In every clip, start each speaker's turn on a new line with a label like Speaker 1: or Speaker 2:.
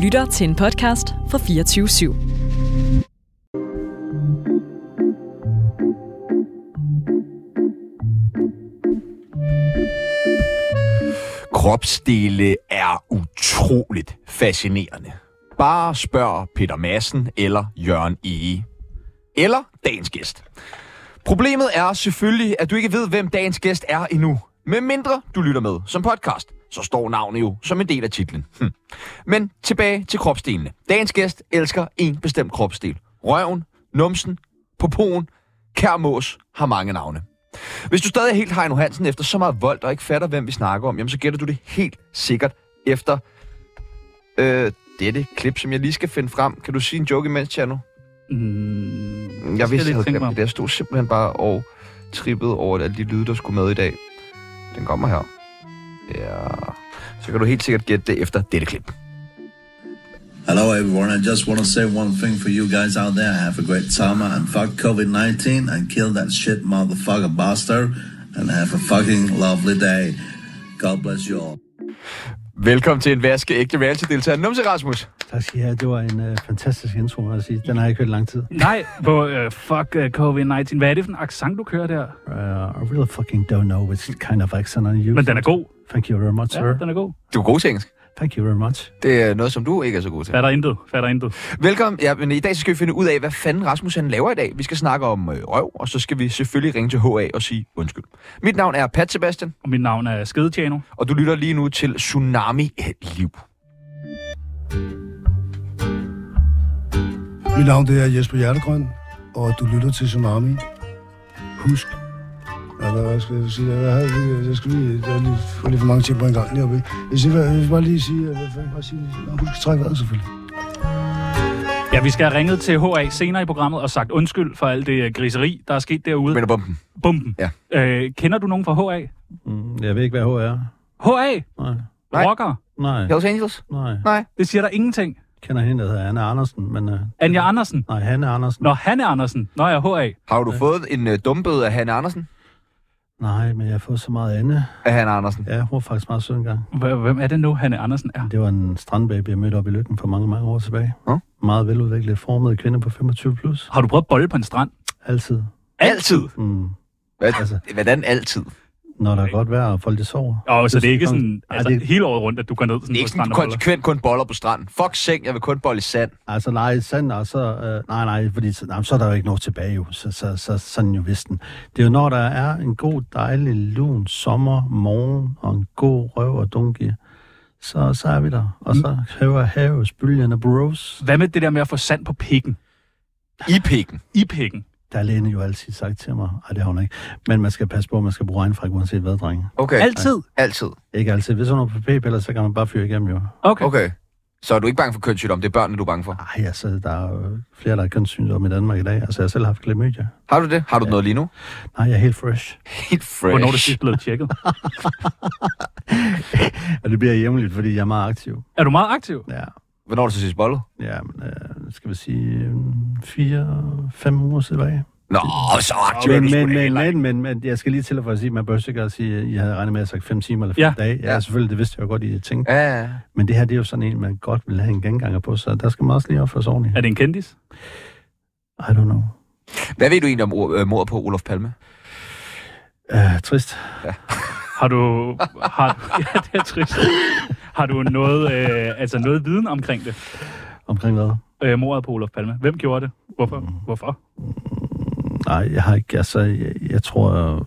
Speaker 1: lytter til en podcast fra 24 /7.
Speaker 2: Kropsdele er utroligt fascinerende. Bare spørg Peter Madsen eller Jørgen Ege. Eller dagens gæst. Problemet er selvfølgelig, at du ikke ved, hvem dagens gæst er endnu. Med mindre du lytter med som podcast, så står navnet jo som en del af titlen. Hm. Men tilbage til kropsdelene. Dagens gæst elsker en bestemt kropsdel. Røven, numsen, popoen, kærmås har mange navne. Hvis du stadig er helt Heino Hansen efter så meget vold og ikke fatter, hvem vi snakker om, jamen så gætter du det helt sikkert efter øh, dette klip, som jeg lige skal finde frem. Kan du sige en joke imens, Tjerno?
Speaker 3: Mm,
Speaker 2: Jeg vidste, jeg
Speaker 3: lige
Speaker 2: havde
Speaker 3: tænke
Speaker 2: glemt
Speaker 3: mig
Speaker 2: det. Jeg stod simpelthen bare og trippede over alle de lyde, der skulle med i dag. Den kommer her. Ja. Så kan du helt sikkert gætte det efter dette klip.
Speaker 4: Hello, everyone. I just want to say one thing for you guys out there. Have a great summer and fuck COVID 19 and kill that shit motherfucker bastard and have a fucking lovely day. God bless you all.
Speaker 2: Velkommen til en vaskeægte reality-deltager. Numse Rasmus.
Speaker 5: Tak skal I have. Det var en øh, fantastisk intro, må jeg sige. Den har jeg ikke hørt i lang tid.
Speaker 3: Nej, på uh, fuck uh, COVID-19. Hvad er det for en accent, du kører der?
Speaker 5: Uh, I really fucking don't know which kind of accent I use.
Speaker 3: Men den er god.
Speaker 5: Thank you very much,
Speaker 3: Ja,
Speaker 5: sir.
Speaker 3: den er god.
Speaker 2: Du er god til engelsk.
Speaker 5: Thank you very much.
Speaker 2: Det er noget, som du ikke er så god til.
Speaker 3: Fatter intet. Fatter intet.
Speaker 2: Velkommen. Ja, men i dag så skal vi finde ud af, hvad fanden Rasmus han laver i dag. Vi skal snakke om øh, røv, og så skal vi selvfølgelig ringe til HA og sige undskyld. Mit navn er Pat Sebastian,
Speaker 3: Og mit navn er Skedetjano.
Speaker 2: og du lytter lige nu til Tsunami Liv.
Speaker 6: Mit navn det er Jesper Hjertegrøn, og du lytter til Tsunami. Husk. Ja, hvad, hvad skal jeg sige? Jeg, havde, lige- jeg skal lige, jeg har lige, fået lige for mange ting på en gang lige oppe. Jeg skal, jeg skal bare lige sige, øh, hvad fanden bare sige? Nå, husk at trække vejret selvfølgelig.
Speaker 3: Ja, vi skal have ringet til HA senere i programmet og sagt undskyld for alt det øh, griseri, der er sket derude.
Speaker 2: Men bomben.
Speaker 3: Bumpen.
Speaker 2: Ja.
Speaker 3: Øh, kender du nogen fra HA?
Speaker 5: Mm, jeg ved ikke, hvad HR er.
Speaker 3: HA?
Speaker 5: Nej.
Speaker 2: Nej.
Speaker 3: Rocker?
Speaker 5: Nej.
Speaker 2: Hells Angels?
Speaker 5: Nej.
Speaker 2: Nej.
Speaker 3: Det siger der ingenting.
Speaker 5: Jeg kender hende, der hedder Anna Andersen, men... Øh,
Speaker 3: Anja Andersen?
Speaker 5: nej, Hanne Andersen.
Speaker 3: Nå, Hanne Andersen. Nå ja, HA.
Speaker 2: Har du fået en øh, dumbøde af Hanne Andersen?
Speaker 5: Nej, men jeg har fået så meget andet.
Speaker 2: Af Hanne Andersen.
Speaker 5: Ja, hun var faktisk meget sød engang.
Speaker 3: H- Hvem er det nu, Hanne Andersen er?
Speaker 5: Det var en strandbaby, jeg mødte op i Lykken for mange, mange år tilbage.
Speaker 2: Nå.
Speaker 5: Meget veludviklet, formet kvinde på 25 plus.
Speaker 3: Har du prøvet at bolle på en strand?
Speaker 5: Altid.
Speaker 2: Altid!
Speaker 5: Mm.
Speaker 2: Hvad,
Speaker 5: Altså.
Speaker 2: Hvordan altid? Det
Speaker 5: Når der er godt vejr, og folk de sover.
Speaker 3: Og så det er ikke
Speaker 5: synes jeg-
Speaker 3: sådan
Speaker 5: Ej,
Speaker 3: altså,
Speaker 5: det-
Speaker 3: hele året rundt, at du går ned
Speaker 2: er
Speaker 3: sådan på
Speaker 2: ikke sådan,
Speaker 3: stranden
Speaker 2: du
Speaker 3: og boller.
Speaker 2: konsekvent kun boller på stranden. Fuck seng, jeg vil kun bolle i sand.
Speaker 5: Altså lege i sand, og så... Øh, nej, nej, fordi så- nej, så er der jo ikke noget tilbage jo. Så, så, så sådan jo visten. Det er jo når der er en god, dejlig, lun sommer, morgen og en god røv og dunke, så, så er vi der. Og så hæver havets bølgerne bros.
Speaker 3: Hvad med det der med at få sand på pikken?
Speaker 2: I pikken.
Speaker 3: I pikken?
Speaker 5: Der har lægen jo altid sagt til mig, ej, det har hun ikke. Men man skal passe på, at man skal bruge regnfræk, uanset hvad, drenge.
Speaker 2: Okay.
Speaker 3: Altid?
Speaker 2: Altid.
Speaker 5: Ikke altid. Hvis hun er på p-piller, så kan man bare fyre igennem jo.
Speaker 3: Okay.
Speaker 2: Okay. Så er du ikke bange for kønssygdom, det er børnene, du er bange for.
Speaker 5: Ej, altså, der er jo flere, der er kønssygdomme i Danmark i dag. Altså, jeg har selv haft klamydia.
Speaker 2: Har du det? Har du ja. noget lige nu?
Speaker 5: Nej, jeg er helt fresh.
Speaker 2: Helt fresh.
Speaker 3: Hvornår er det sidst blevet tjekket?
Speaker 5: Og det bliver jævnligt, fordi jeg er meget aktiv.
Speaker 3: Er du meget aktiv?
Speaker 5: Ja.
Speaker 2: Hvornår er det så sidst bollet?
Speaker 5: Ja, men, øh, skal vi sige øh, fire, fem uger tilbage.
Speaker 2: Nå, så aktiv er
Speaker 5: Men,
Speaker 2: du sgu
Speaker 5: men,
Speaker 2: da
Speaker 5: men,
Speaker 2: heller ikke.
Speaker 5: men, men, men, jeg skal lige til at sige, at man bør sikkert at sige, at jeg havde regnet med, at jeg sagde fem timer eller fem
Speaker 3: Ja.
Speaker 5: dage. Ja,
Speaker 2: Ja.
Speaker 5: selvfølgelig, det vidste jeg jo godt, I tænkte.
Speaker 2: Ja, ja, ja.
Speaker 5: Men det her, det er jo sådan en, man godt vil have en genganger på, så der skal man også lige opføre sig ordentligt.
Speaker 3: Er det en kendis?
Speaker 5: I don't know.
Speaker 2: Hvad ved du egentlig om or- øh, mordet på Olof Palme?
Speaker 5: Uh, trist.
Speaker 3: Har du... Har, ja, det er trist. Har du noget, øh, altså noget viden omkring det?
Speaker 5: Omkring hvad?
Speaker 3: Øh, mordet på Olof Palme. Hvem gjorde det? Hvorfor?
Speaker 5: Mm.
Speaker 3: Hvorfor?
Speaker 5: Nej, jeg har ikke. Altså, jeg, jeg tror, øh,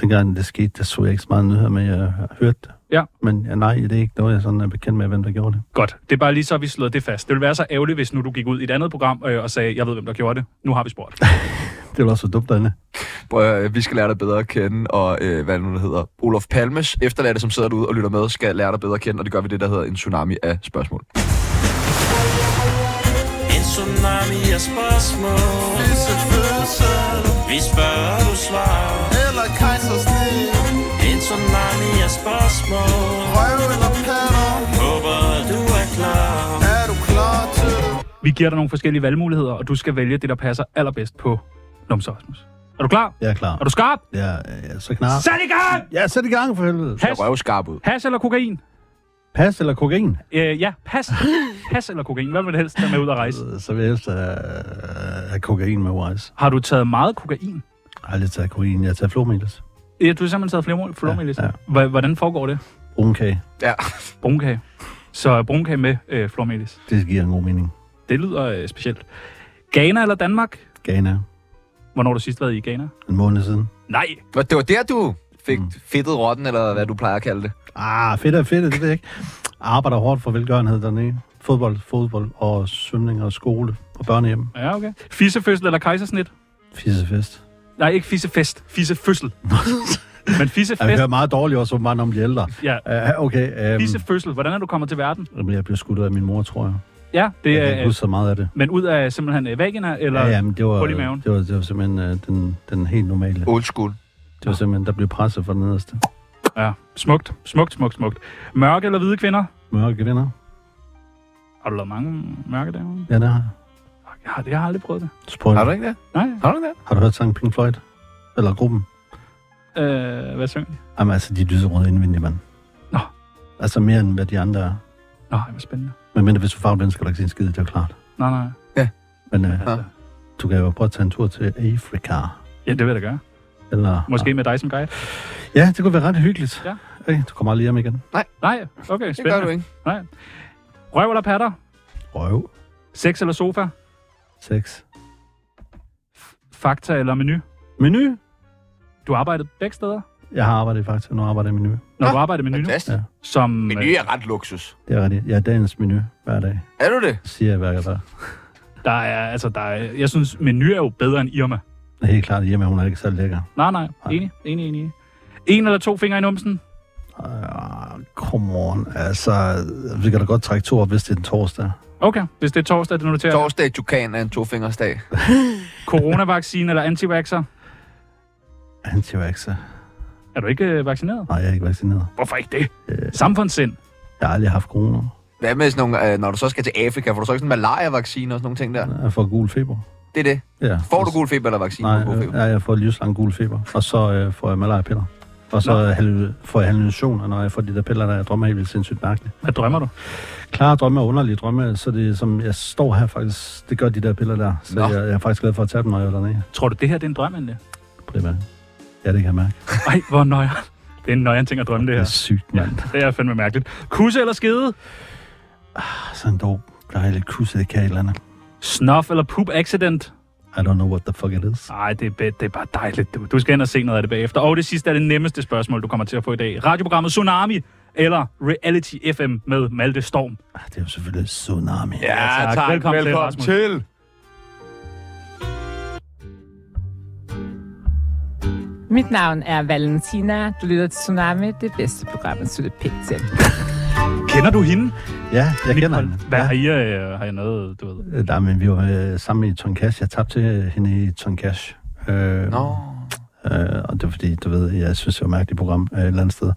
Speaker 5: dengang det skete, der så jeg ikke så meget nyheder, men jeg har hørt det.
Speaker 3: Ja.
Speaker 5: Men ja, nej, det er ikke noget, jeg sådan er bekendt med, hvem der gjorde det.
Speaker 3: Godt. Det er bare lige så, vi slår det fast. Det ville være så ærgerligt, hvis nu du gik ud i et andet program øh, og sagde, jeg ved, hvem der gjorde det. Nu har vi spurgt.
Speaker 5: Det var også så dumt, Anne.
Speaker 2: Prøv, at- vi skal lære dig bedre at kende, og øh, hvad er det nu det hedder, Olof Palmes efterladte, som sidder derude og lytter med, skal lære dig bedre at kende, og det gør vi det, der hedder en tsunami af spørgsmål.
Speaker 7: En tsunami af spørgsmål Vi spørger, du svarer
Speaker 8: Eller kejsersnit
Speaker 7: En tsunami af spørgsmål
Speaker 8: Røv eller patter
Speaker 7: Håber, du er klar
Speaker 8: Er du klar til det?
Speaker 3: Vi giver dig nogle forskellige valgmuligheder, og du skal vælge det, der passer allerbedst på Numse Rasmus. Er du klar?
Speaker 5: Jeg er klar.
Speaker 3: Er du skarp?
Speaker 5: Ja, øh, så knar.
Speaker 3: Sæt i gang!
Speaker 5: Ja, sæt i gang for helvede.
Speaker 3: Hash,
Speaker 2: Røvskarp ud.
Speaker 3: hash eller kokain?
Speaker 5: Pas eller kokain?
Speaker 3: Øh, ja, pas. Pas eller kokain. Hvad vil du helst tage med ud at rejse?
Speaker 5: Øh, Så vil jeg helst have, have kokain med rejse.
Speaker 3: Har du taget meget kokain?
Speaker 5: Jeg har aldrig taget kokain. Jeg har taget flormelis.
Speaker 3: Ja, du har simpelthen taget flere flormelis.
Speaker 5: Ja, ja.
Speaker 3: Ja, ja. Hvordan foregår det?
Speaker 5: Brunkage.
Speaker 2: Ja.
Speaker 3: Brunkage. Så brunkage med øh, flormelis.
Speaker 5: Det giver en god mening.
Speaker 3: Det lyder øh, specielt. Ghana eller Danmark?
Speaker 5: Ghana.
Speaker 3: Hvornår har du sidst været i Ghana?
Speaker 5: En måned siden.
Speaker 3: Nej,
Speaker 2: Nå, Det var der, du fik
Speaker 5: Mm.
Speaker 2: fedtet rotten, eller hvad du plejer at kalde det.
Speaker 5: Ah, fedt er fedt, det ved jeg ikke. Arbejder hårdt for velgørenhed dernede. Fodbold, fodbold og svømning og skole og børnehjem.
Speaker 3: Ja, okay. Fissefødsel eller kejsersnit?
Speaker 5: Fissefest.
Speaker 3: Nej, ikke fissefest. Fissefødsel. Men
Speaker 5: Jeg
Speaker 3: fissefest.
Speaker 5: hører meget dårligt også åbenbart om de ældre.
Speaker 3: Ja.
Speaker 5: Uh, okay, um,
Speaker 3: Fissefødsel. Hvordan er du kommet til verden?
Speaker 5: jeg blev skudt af min mor, tror jeg.
Speaker 3: Ja, det
Speaker 5: Jeg kan ikke
Speaker 3: er...
Speaker 5: huske så meget af det.
Speaker 3: Men ud af simpelthen øh, vagina, eller...
Speaker 5: Ja, ja, men det var,
Speaker 3: hul i
Speaker 5: det var,
Speaker 3: maven.
Speaker 5: det var, det var simpelthen uh, den, den helt normale.
Speaker 2: Old school.
Speaker 5: Det var simpelthen, der blev presset for den nederste.
Speaker 3: ja. Smukt, smukt, smukt, smukt. Mørke eller hvide kvinder?
Speaker 5: Mørke venner.
Speaker 3: Har du lavet mange mørke dage?
Speaker 5: Ja, det har jeg.
Speaker 3: Jeg har, jeg har aldrig prøvet det.
Speaker 5: Spurgte,
Speaker 2: Har du ikke det?
Speaker 3: Nej.
Speaker 2: Har du det?
Speaker 5: har du hørt sangen Pink Floyd? Eller gruppen?
Speaker 3: Øh, hvad synger de?
Speaker 5: Jamen altså, de er lyserøde indvendigt, mand.
Speaker 3: Nå.
Speaker 5: Altså mere end hvad de andre er.
Speaker 3: Nå, det var spændende.
Speaker 5: Men mindre hvis du farver den, skal du ikke se en skid, det er jo klart.
Speaker 3: Nej, nej.
Speaker 5: Men uh,
Speaker 3: Altså,
Speaker 5: Du kan jo prøve at tage en tur til Afrika.
Speaker 3: ja, det vil jeg da gøre.
Speaker 5: Eller,
Speaker 3: Måske med dig som guide.
Speaker 5: Ja, det kunne være ret hyggeligt.
Speaker 3: Ja.
Speaker 5: Okay, du kommer aldrig hjem igen.
Speaker 3: Nej, okay,
Speaker 2: Det gør du
Speaker 3: spændende.
Speaker 2: ikke.
Speaker 3: Røv eller patter?
Speaker 5: Røv.
Speaker 3: Sex eller sofa?
Speaker 5: Sex.
Speaker 3: Fakta eller menu?
Speaker 5: Menu.
Speaker 3: Du arbejdede begge steder?
Speaker 5: Jeg har arbejdet faktisk. Nu arbejder jeg i menu.
Speaker 3: Når
Speaker 2: Nå,
Speaker 3: du arbejder med menu?
Speaker 2: Fantastisk.
Speaker 5: Ja.
Speaker 3: Som,
Speaker 2: Men
Speaker 3: øh,
Speaker 2: det er ret luksus.
Speaker 5: Det er rigtigt. Jeg er dagens menu hver dag.
Speaker 2: Er du det?
Speaker 5: Siger jeg hver dag.
Speaker 3: Der er, altså, der er, jeg synes, menu er jo bedre end Irma.
Speaker 5: Det er helt klart, at hjemme hun er ikke så lækker.
Speaker 3: Nej, nej.
Speaker 5: Nej.
Speaker 3: Enig, enig, enig. En eller to fingre i numsen.
Speaker 5: Ah, Come on. Altså, vi kan da godt trække to op, hvis det er en torsdag.
Speaker 3: Okay, hvis det er torsdag, det noterer jeg.
Speaker 2: Torsdag i Tukan er en tofingersdag.
Speaker 3: Coronavaccine eller antivaxer.
Speaker 5: Antivaxer.
Speaker 3: Er du ikke øh, vaccineret?
Speaker 5: Nej, jeg er ikke vaccineret.
Speaker 3: Hvorfor ikke det?
Speaker 2: Øh.
Speaker 3: Samfundssind.
Speaker 5: Jeg har aldrig haft corona.
Speaker 2: Hvad med sådan nogle, øh, når du så skal til Afrika, får du så ikke sådan en malaria-vaccine og sådan nogle ting der?
Speaker 5: Jeg får gul feber.
Speaker 2: Det er det.
Speaker 5: Ja.
Speaker 2: Får du gul feber eller vaccine?
Speaker 5: Nej,
Speaker 2: mod gul
Speaker 5: øh,
Speaker 2: feber?
Speaker 5: ja, jeg får livslang gul feber, og så øh, får jeg malariapiller. Og så
Speaker 3: Nå.
Speaker 5: øh, hallu- får jeg hallucinationer, når jeg får de der piller, der jeg drømmer helt vildt sindssygt mærkeligt.
Speaker 3: Hvad drømmer du?
Speaker 5: Klare drømme og underlige drømme, så det er som, jeg står her faktisk, det gør de der piller der. Så
Speaker 2: Nå.
Speaker 5: jeg, jeg, er faktisk glad for at tage dem, når jeg er dernede.
Speaker 3: Tror du, det her det er en drøm, Anne?
Speaker 5: Primært. Ja, det kan jeg mærke.
Speaker 3: Ej, hvor nøjeren. Det er en nøjeren ting at drømme, det
Speaker 5: Det er
Speaker 3: her.
Speaker 5: sygt, mand.
Speaker 3: Det er fandme mærkeligt. Kusse eller skede?
Speaker 5: Ja. Sådan dog dejligt kusse, det kan et eller andet.
Speaker 3: Snuff eller poop accident?
Speaker 5: I don't know what the fuck it is.
Speaker 3: Nej, det, er be- det er bare dejligt. Du, du skal ind og se noget af det bagefter. Og det sidste er det nemmeste spørgsmål, du kommer til at få i dag. Radioprogrammet Tsunami eller Reality FM med Malte Storm.
Speaker 5: Ah, Det er jo selvfølgelig tsunami.
Speaker 2: Ja, tak. Velkommen, Velkommen
Speaker 3: Rasmus.
Speaker 2: til.
Speaker 9: Mit navn er Valentina. Du lytter til Tsunami, det bedste program, at slutte pænt til.
Speaker 3: Kender du hende?
Speaker 5: Ja, jeg kender
Speaker 3: Nicole?
Speaker 5: hende.
Speaker 3: Hvad
Speaker 5: Ja.
Speaker 3: har I, øh, har I noget, du ved?
Speaker 5: Øh, Nej, men vi var øh, sammen i Tonkash. Jeg tabte til hende i Tonkash. Øh,
Speaker 2: Nå.
Speaker 5: Øh, og det var fordi, du ved, jeg synes, det var et mærkeligt program øh, et eller andet sted.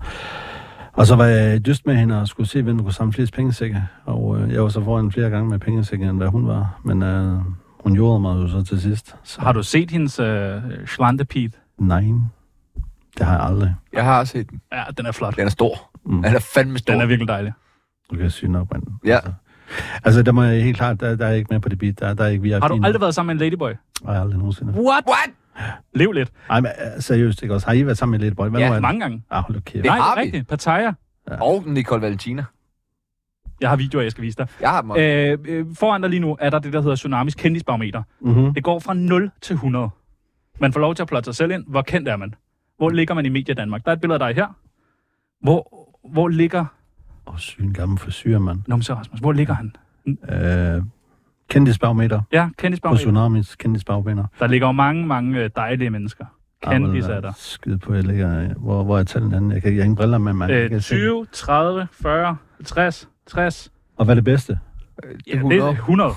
Speaker 5: Og så var jeg i dyst med hende og skulle se, hvem der kunne samle flest pengesække. Og øh, jeg var så foran flere gange med pengesække, end hvad hun var. Men øh, hun gjorde mig jo så til sidst. Så,
Speaker 3: Har du set hendes øh, slantepit?
Speaker 5: Nej, det har jeg aldrig.
Speaker 2: Jeg har set den.
Speaker 3: Ja, den er flot.
Speaker 2: Den er stor.
Speaker 5: Mm.
Speaker 2: Den er fandme stor.
Speaker 3: Den er virkelig dejlig.
Speaker 5: Du kan syge nok, mand.
Speaker 2: Ja.
Speaker 5: Altså, altså, der må jeg helt klart, der, der er jeg ikke med på det beat. Der, der er ikke vi
Speaker 3: Har du aldrig været sammen med en ladyboy?
Speaker 5: Nej, aldrig nogensinde.
Speaker 2: What? What?
Speaker 3: Lev lidt.
Speaker 5: Nej, men øh, seriøst, ikke også? Har I været sammen med lidt boy? Hvad
Speaker 2: Ja,
Speaker 5: nu er det?
Speaker 3: Mange gange.
Speaker 5: Ah, hold da kæft.
Speaker 2: Det
Speaker 3: Nej,
Speaker 2: har
Speaker 3: det er
Speaker 2: vi.
Speaker 3: rigtigt. Pattaya.
Speaker 2: Og Nicole Valentina.
Speaker 3: Jeg har videoer, jeg skal vise dig.
Speaker 2: Jeg har dem også.
Speaker 3: Øh, øh, foran dig lige nu er der det, der hedder Tsunamis kendisbarometer.
Speaker 5: Mm-hmm.
Speaker 3: Det går fra 0 til 100. Man får lov til at plotte sig selv ind. Hvor kendt er man? Hvor ligger man i Media Danmark? Der er et billede af dig her. Hvor, hvor ligger...
Speaker 5: Åh, sygen gammel for syre, mand.
Speaker 3: Nå, men så Rasmus, hvor ligger han?
Speaker 5: Øh, kendisbarometer.
Speaker 3: Ja,
Speaker 5: På
Speaker 3: kendisbarometer.
Speaker 5: Tsunamis Ah, kendisbagbaner.
Speaker 3: Der ligger jo mange, mange øh, dejlige mennesker. Kendis
Speaker 5: øh,
Speaker 3: er der.
Speaker 5: Skide på, jeg ligger... Hvor, hvor er tallene henne? Jeg, kan, jeg har ingen briller med, man.
Speaker 3: Øh,
Speaker 5: kan se.
Speaker 3: 20, 30, 40, 50, 60.
Speaker 5: Og hvad er det bedste?
Speaker 3: Ja, det er 100.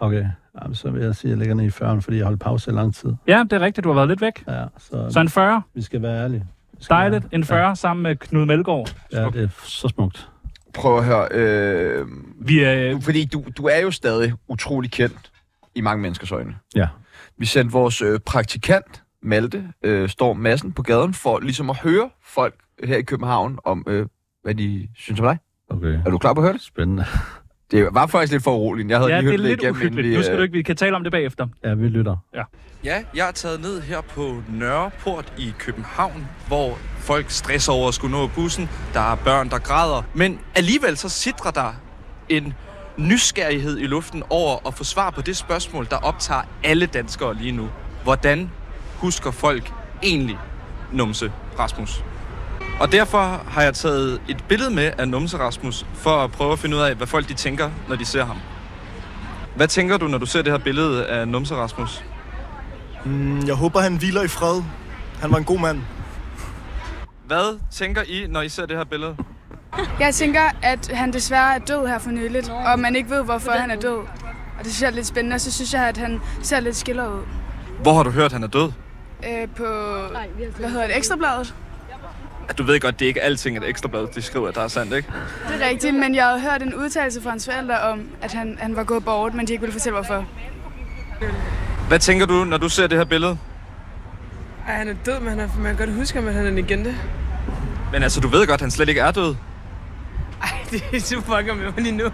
Speaker 5: Okay. Jamen, så vil jeg sige, at jeg ligger ned i 40'erne, fordi jeg holdt pause i lang tid.
Speaker 3: Ja, det er rigtigt. Du har været lidt væk.
Speaker 5: Ja, så,
Speaker 3: Så en 40.
Speaker 5: vi skal være ærlige. Vi skal
Speaker 3: Dejligt. En 40 sammen med Knud Melgaard.
Speaker 5: Være, ja, det er f- så smukt.
Speaker 2: Prøv at høre. Øh,
Speaker 3: Vi er... Øh,
Speaker 2: fordi du, du er jo stadig utrolig kendt i mange menneskers øjne.
Speaker 5: Ja.
Speaker 2: Vi sendte vores øh, praktikant, Malte øh, Storm Madsen, på gaden for ligesom at høre folk her i København om, øh, hvad de synes om dig.
Speaker 5: Okay,
Speaker 2: Er du klar på at høre det?
Speaker 5: spændende.
Speaker 2: Det var faktisk lidt for uroligt. Jeg havde
Speaker 3: Ja,
Speaker 2: lige
Speaker 3: det er
Speaker 2: hørt det,
Speaker 3: lidt
Speaker 2: igennem.
Speaker 3: uhyggeligt.
Speaker 2: inden vi,
Speaker 3: Nu skal
Speaker 2: øh,
Speaker 3: du ikke, vi kan tale om det bagefter.
Speaker 5: Ja, vi lytter.
Speaker 10: Ja, jeg er taget ned her på Nørreport i København, hvor folk stresser over at skulle nå bussen. Der er børn, der græder. Men alligevel så sidder der en nysgerrighed i luften over at få svar på det spørgsmål, der optager alle danskere lige nu. Hvordan husker folk egentlig Numse Rasmus? Og derfor har jeg taget et billede med af Numse Rasmus, for at prøve at finde ud af, hvad folk de tænker, når de ser ham. Hvad tænker du, når du ser det her billede af Numse Rasmus?
Speaker 8: Mm, jeg håber, han hviler i fred. Han var en god mand.
Speaker 10: Hvad tænker I, når I ser det her billede?
Speaker 11: Jeg tænker, at han desværre er død her for nyligt, og man ikke ved, hvorfor han er død. Og det ser lidt spændende, og så synes jeg, at han ser lidt skiller ud.
Speaker 10: Hvor har du hørt, han er død?
Speaker 11: Øh, på, hvad hedder det, Ekstrabladet?
Speaker 10: At du ved godt, det er ikke alting, at Ekstrablad de skriver, der er sandt, ikke?
Speaker 11: Det er rigtigt, men jeg havde hørt en udtalelse fra hans forældre om, at han, han var gået bort, men de ikke ville fortælle, hvorfor.
Speaker 10: Hvad tænker du, når du ser det her billede?
Speaker 11: Ej, han er død, men han er, man kan godt huske ham, at han er en legende.
Speaker 10: Men altså, du ved godt, han slet ikke er død.
Speaker 11: Ej, det, du fucker med mig lige nu.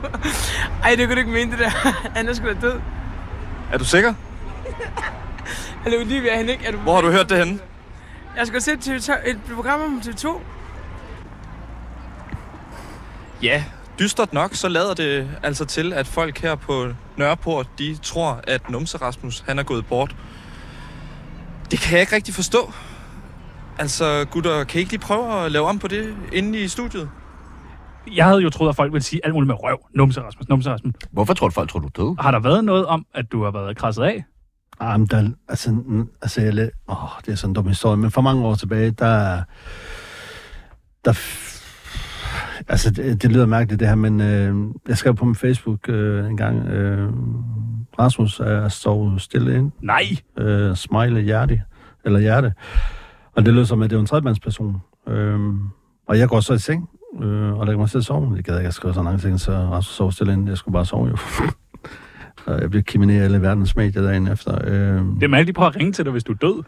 Speaker 11: Ej, det kunne du ikke mene, det der. Han er sgu da død.
Speaker 10: Er du sikker?
Speaker 11: Han er Olivia, han ikke. Er du...
Speaker 10: Hvor har du hørt det henne?
Speaker 11: Jeg skulle se TV2, et program om TV2.
Speaker 10: Ja, dystert nok, så lader det altså til, at folk her på Nørreport, de tror, at Numse Rasmus, han er gået bort. Det kan jeg ikke rigtig forstå. Altså, gutter, kan I ikke lige prøve at lave om på det inde i studiet?
Speaker 3: Jeg havde jo troet, at folk ville sige alt muligt med røv. Numse Rasmus, numse Rasmus.
Speaker 2: Hvorfor tror du, folk tror, du er død?
Speaker 3: Har der været noget om, at du har været krasset af?
Speaker 5: Ah, men der, altså, mm, altså jeg læ- oh, det er sådan en dum historie, men for mange år tilbage, der... der f- altså, det, det lyder mærkeligt det her, men øh, jeg skrev på min Facebook øh, en gang, øh, Rasmus er står stille ind,
Speaker 3: Nej.
Speaker 5: øh, smile hjerte, eller hjerte. Og det lød som, at det var en tredjemandsperson. Øh, og jeg går så i seng, øh, og lægger mig til at sove. Det gad jeg ikke at skrive så langt ting, så Rasmus sov stille ind. Jeg skulle bare sove jo. og jeg blev krimineret i alle verdens medier dagen efter. Øh,
Speaker 3: Det er mærkeligt, prøve at ringe til dig, hvis du er død.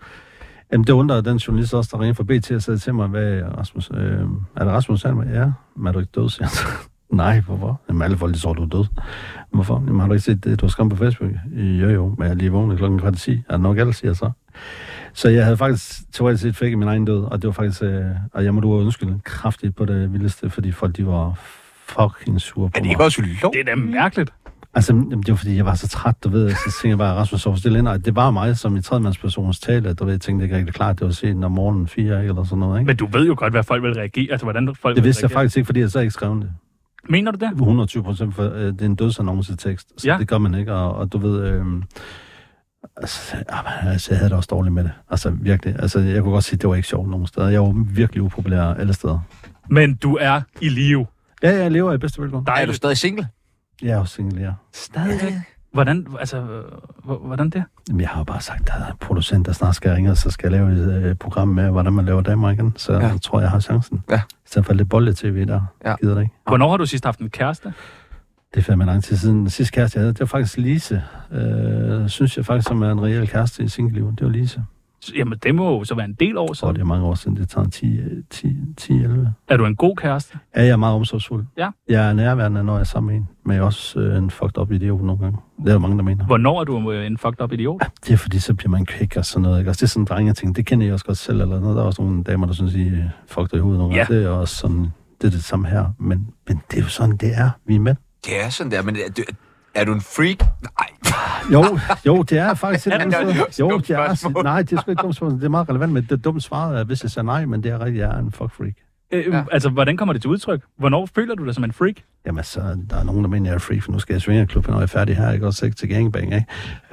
Speaker 5: Jamen, det undrede den journalist også, der ringede fra BT og sagde til mig, hvad Rasmus, øh, er det Rasmus Sandberg? Ja, men er du ikke død, siger han. så. Nej, hvorfor? Jamen, alle folk de tror, du er død. Hvorfor? Jamen, har du ikke set det, du har skrevet på Facebook? Jo, jo, men jeg er lige vågnet klokken kvart i 10. Er det nok alle, siger jeg så. Så jeg havde faktisk teoretisk set fik min egen død, og det var faktisk, øh, og jeg må du undskylde kraftigt på det vildeste, fordi folk de var fucking sure på
Speaker 2: Er det
Speaker 5: mig.
Speaker 2: ikke også lov?
Speaker 3: Det er da
Speaker 5: Mm.
Speaker 3: mærkeligt.
Speaker 5: Altså, jamen, det var fordi, jeg var så træt, du ved, så tænkte jeg bare, Rasmus sov stille ind, og det var mig som i tredjemandspersonens tale, du ved, jeg tænkte ikke rigtig klart, det var sent om morgenen fire, ikke, eller sådan noget, ikke?
Speaker 3: Men du ved jo godt, hvad folk vil reagere. Altså, hvordan folk
Speaker 5: Det
Speaker 3: vil
Speaker 5: vidste jeg
Speaker 3: reagere.
Speaker 5: faktisk ikke, fordi jeg så ikke skrev det.
Speaker 3: Mener du det?
Speaker 5: 120 procent, for øh, det er en dødsannoncetekst, så
Speaker 3: Ja.
Speaker 5: ja. det gør man ikke, og, og du ved, øh, altså, jamen, altså, jeg havde det også dårligt med det, altså virkelig, altså jeg kunne godt sige, det var ikke sjovt nogen steder, jeg var virkelig upopulær alle steder.
Speaker 3: Men du er i live.
Speaker 5: Ja, jeg lever i bedste velgående.
Speaker 2: Er du
Speaker 3: Dejligt.
Speaker 2: stadig single?
Speaker 5: Jeg er jo single, ja.
Speaker 3: Stadigvæk. Hvordan, altså, øh, hvordan det?
Speaker 5: Jamen, jeg har jo bare sagt, at der er en producent, der snart skal ringe, og så skal jeg lave et øh, program med, hvordan man laver damer igen. Så
Speaker 2: Ja.
Speaker 5: ja. jeg tror, jeg har chancen.
Speaker 2: Ja.
Speaker 5: I stedet for lidt bolle-tv der.
Speaker 2: Ja.
Speaker 5: Ja. Gider det ikke.
Speaker 3: Hvornår har du sidst haft en kæreste?
Speaker 5: Det er fandme lang tid siden. Den sidste kæreste, jeg havde, det var faktisk Lise. Øh, synes jeg faktisk, som er en reel kæreste i singellivet. Det var Lise.
Speaker 3: Så- Jamen, det må jo så være en del år
Speaker 5: Så er
Speaker 3: siden.
Speaker 5: det er mange år siden. Det tager 10, øh, 10, 10 11.
Speaker 3: Er du en god kæreste?
Speaker 5: Ja, jeg er meget omsorgsfuld.
Speaker 3: Ja.
Speaker 5: Jeg er nærværende, når jeg er sammen med en. Men jeg er også øh, en fucked up idiot nogle gange. Det er der mange, der mener.
Speaker 3: Hvornår er du øh, en fucked up idiot?
Speaker 5: Det er fordi, så bliver man kæk og sådan noget. Ikke? Også det er sådan drenge ting. Det kender jeg også godt selv. Eller noget. Der er også nogle damer, der synes, I øh, fuck dig i hovedet nogle
Speaker 3: Ja.
Speaker 5: gange. Det er også sådan, det er det samme her. Men, men det er jo sådan, det er. Vi er mænd.
Speaker 2: Det er sådan der, men er du, er du en freak? Nej.
Speaker 5: Jo, jo, det er faktisk et andet
Speaker 2: det er
Speaker 5: sted.
Speaker 2: jo et
Speaker 5: Jo,
Speaker 2: dumt
Speaker 5: det er,
Speaker 2: spørgsmål.
Speaker 5: nej, det er sgu ikke et dumt spørgsmål. Det er meget relevant, men det dumme svaret er, hvis jeg siger nej, men det er rigtigt, jeg er en fuck freak.
Speaker 3: Øh, ja. Altså, hvordan kommer det til udtryk? Hvornår føler du dig som en freak?
Speaker 5: Jamen, så der er nogen, der mener, jeg er freak, for nu skal jeg svinge klubben, når jeg er færdig her, ikke? Også ikke til gangbang, ikke?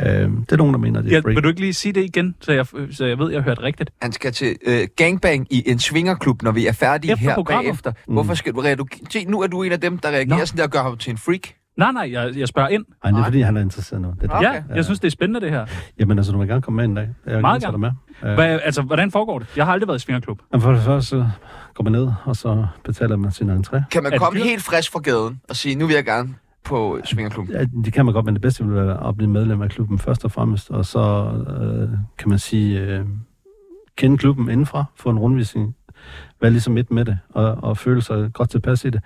Speaker 5: Øhm, det er nogen, der mener, det
Speaker 3: Ja,
Speaker 5: er freak.
Speaker 3: vil du ikke lige sige det igen, så jeg, så jeg ved, jeg hørte rigtigt?
Speaker 2: Han skal til øh, gangbang i en svingerklub, når vi er færdige
Speaker 3: Efter
Speaker 2: her
Speaker 3: programmet. Mm.
Speaker 2: bagefter. Hvorfor skal du reagere? Se, nu er du en af dem, der reagerer
Speaker 3: Nå.
Speaker 2: sådan der og gør ham til en freak.
Speaker 3: Nej, nej, jeg, jeg spørger ind.
Speaker 5: Ej, det er fordi, han er interesseret nu. Det er det.
Speaker 3: Okay. Ja, jeg synes, det er spændende, det her.
Speaker 5: Jamen, altså, du må gerne komme med en dag. Jeg vil
Speaker 3: Meget
Speaker 5: gerne. tage dig med. Øh,
Speaker 3: Hva, altså, hvordan foregår det? Jeg har aldrig været i svingerklub.
Speaker 5: Men for det første så går man ned, og så betaler man sin entré.
Speaker 2: Kan man
Speaker 3: Er det
Speaker 2: komme
Speaker 3: dyrt?
Speaker 2: helt frisk fra gaden og sige, nu vil jeg gerne på svingerklubben?
Speaker 5: Ja, det kan man godt, men det bedste vil være at blive medlem af klubben først og fremmest, og så øh, kan man sige, øh, kende klubben indenfra, få en rundvisning, være ligesom midt med det, og, og føle sig godt tilpas i det.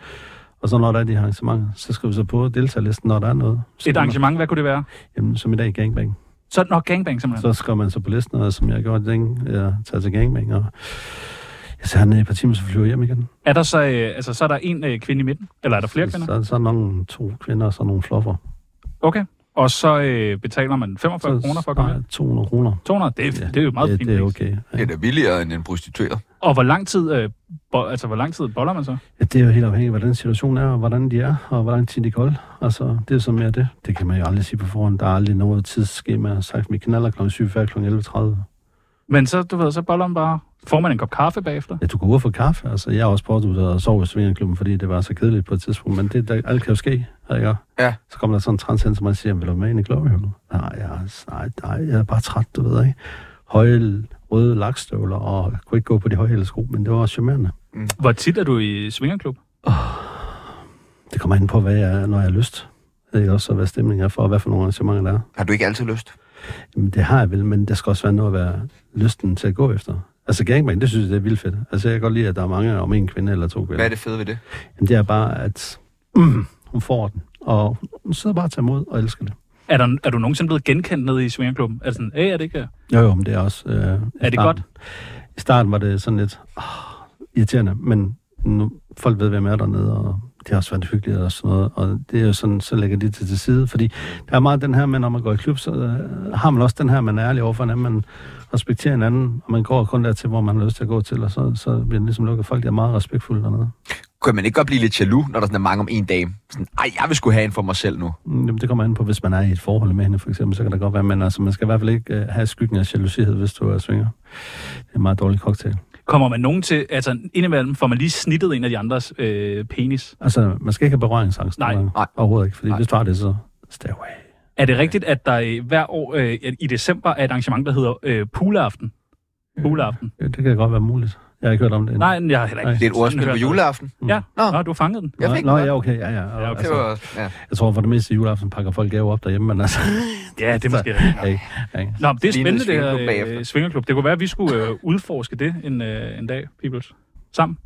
Speaker 5: Og så når der er de arrangementer, så skriver vi så på deltagerlisten, når der er noget.
Speaker 3: Et arrangement, hvad kunne det være?
Speaker 5: Jamen, som i dag gangbang.
Speaker 3: Så nok gangbang, simpelthen.
Speaker 5: Så skriver man så på listen, og som jeg gjorde, den jeg tager til gangbang, og jeg tager ned i et par timer, så flyver jeg hjem igen.
Speaker 3: Er der så, øh, altså, så er der en øh, kvinde i midten? Eller er der flere kvinder?
Speaker 5: Så, så er der nogle to kvinder og så nogle fluffer.
Speaker 3: Okay. Og så øh, betaler man 45
Speaker 5: Så-
Speaker 3: kroner for at komme
Speaker 5: nej,
Speaker 3: ind?
Speaker 5: 200 kroner.
Speaker 3: 200, det, er- det er jo meget
Speaker 5: ja,
Speaker 3: fint.
Speaker 5: det er
Speaker 3: pris.
Speaker 5: okay.
Speaker 12: Det er da billigere end en prostitueret.
Speaker 3: Og hvor lang tid, øh, bo, altså, hvor lang tid boller man så?
Speaker 5: Ja, det er jo helt afhængigt af, hvordan situationen er, og hvordan de er, og hvor lang tid de kan holde. Altså, det er så mere det. Det kan man jo aldrig sige på forhånd. Der er aldrig noget tidsskema. Jeg har sagt, vi knaller kl. 7.40 kl. 11.30.
Speaker 3: Men så, du ved, så boller man bare. Får man en kop kaffe bagefter?
Speaker 5: Ja, du går ud og får kaffe. Altså, jeg har også prøvet at og sove i Svingerklubben, fordi det var så kedeligt på et tidspunkt. Men det, der, alt kan jo ske, ikke?
Speaker 12: Ja.
Speaker 5: Så kommer der sådan en trans hen, som man siger, vil du med ind i Gloryhullet? Nej, jeg, er- nej, nej, jeg er bare træt, du ved, ikke? Høje røde lakstøvler, og jeg kunne ikke gå på de høje sko, men det var også charmerende.
Speaker 3: Hvor tit er du i svingerklub?
Speaker 5: Det kommer an på, hvad jeg er, når jeg har lyst. Det er også, hvad stemningen er for, og hvad for nogle arrangementer der er.
Speaker 12: Har du ikke altid lyst?
Speaker 5: Jamen, det har jeg vel, men der skal også være noget at være lysten til at gå efter. Altså gangbang, det synes jeg, det er vildt fedt. Altså jeg kan godt lide, at der er mange om en kvinde eller to kvinder.
Speaker 12: Hvad er det fede ved det?
Speaker 5: Jamen, det er bare, at hun får den, og hun sidder bare og tager imod og elsker det.
Speaker 3: Er, der, er du nogensinde blevet genkendt nede i svingerklubben? Er det sådan, æh, er det ikke her?
Speaker 5: Jo, jo, men det er også... Øh, i
Speaker 3: det
Speaker 5: starten-
Speaker 3: godt?
Speaker 5: I starten var det sådan lidt oh, irriterende, men nu, folk ved, hvem er dernede, og det har også været hyggeligt og sådan noget, og det er jo sådan, så lægger de det til side, fordi der er meget den her med, når man går i klub, så øh, har man også den her, man er ærlig overfor hinanden, man respekterer hinanden, og man går kun dertil, hvor man har lyst til at gå til, og så, så bliver det ligesom lukket. Folk er meget respektfulde dernede.
Speaker 12: Kunne man ikke godt blive lidt jaloux, når der sådan er mange om en dame? Sådan, ej, jeg vil skulle have en for mig selv nu.
Speaker 5: Mm, Jamen, det kommer an på, hvis man er i et forhold med hende, for eksempel, så kan det godt være, men altså, man skal i hvert fald ikke øh, have skyggen af jalousihed, hvis du er svinger. Det er en meget dårlig cocktail.
Speaker 3: Kommer man nogen til, altså indimellem får man lige snittet en af de andres øh, penis.
Speaker 5: Altså, man skal ikke have berøringsangst.
Speaker 3: Nej.
Speaker 5: nej. Overhovedet ikke, fordi Nej. hvis du har det, så stay away.
Speaker 3: Er det rigtigt, at der øh, hver år øh, i december er et arrangement, der hedder øh, poolaften? Poolaften.
Speaker 5: Ja, Det kan godt være muligt. Jeg har ikke hørt om det endnu.
Speaker 3: Mm. Nej, jeg har heller ikke.
Speaker 5: Det er et ordspil
Speaker 3: sådan
Speaker 5: på
Speaker 3: hørt noget.
Speaker 12: juleaften.
Speaker 3: Ja, Nå. Nå, du fangede den.
Speaker 5: Jeg fik Nå, den. ja, okay, ja, ja.
Speaker 3: ja okay.
Speaker 5: Altså, Det var-
Speaker 12: ja.
Speaker 5: Jeg tror for det meste i juleaften pakker folk gaver op derhjemme, men altså...
Speaker 3: Ja, det er måske
Speaker 5: rigtigt. Ikke, ikke.
Speaker 3: Nå, men det er
Speaker 5: Lignede
Speaker 3: spændende, det her
Speaker 5: svingerklub
Speaker 3: øh, svingerklub. Det kunne være, at vi skulle øh, udforske det en, øh, en dag, peoples. Sammen.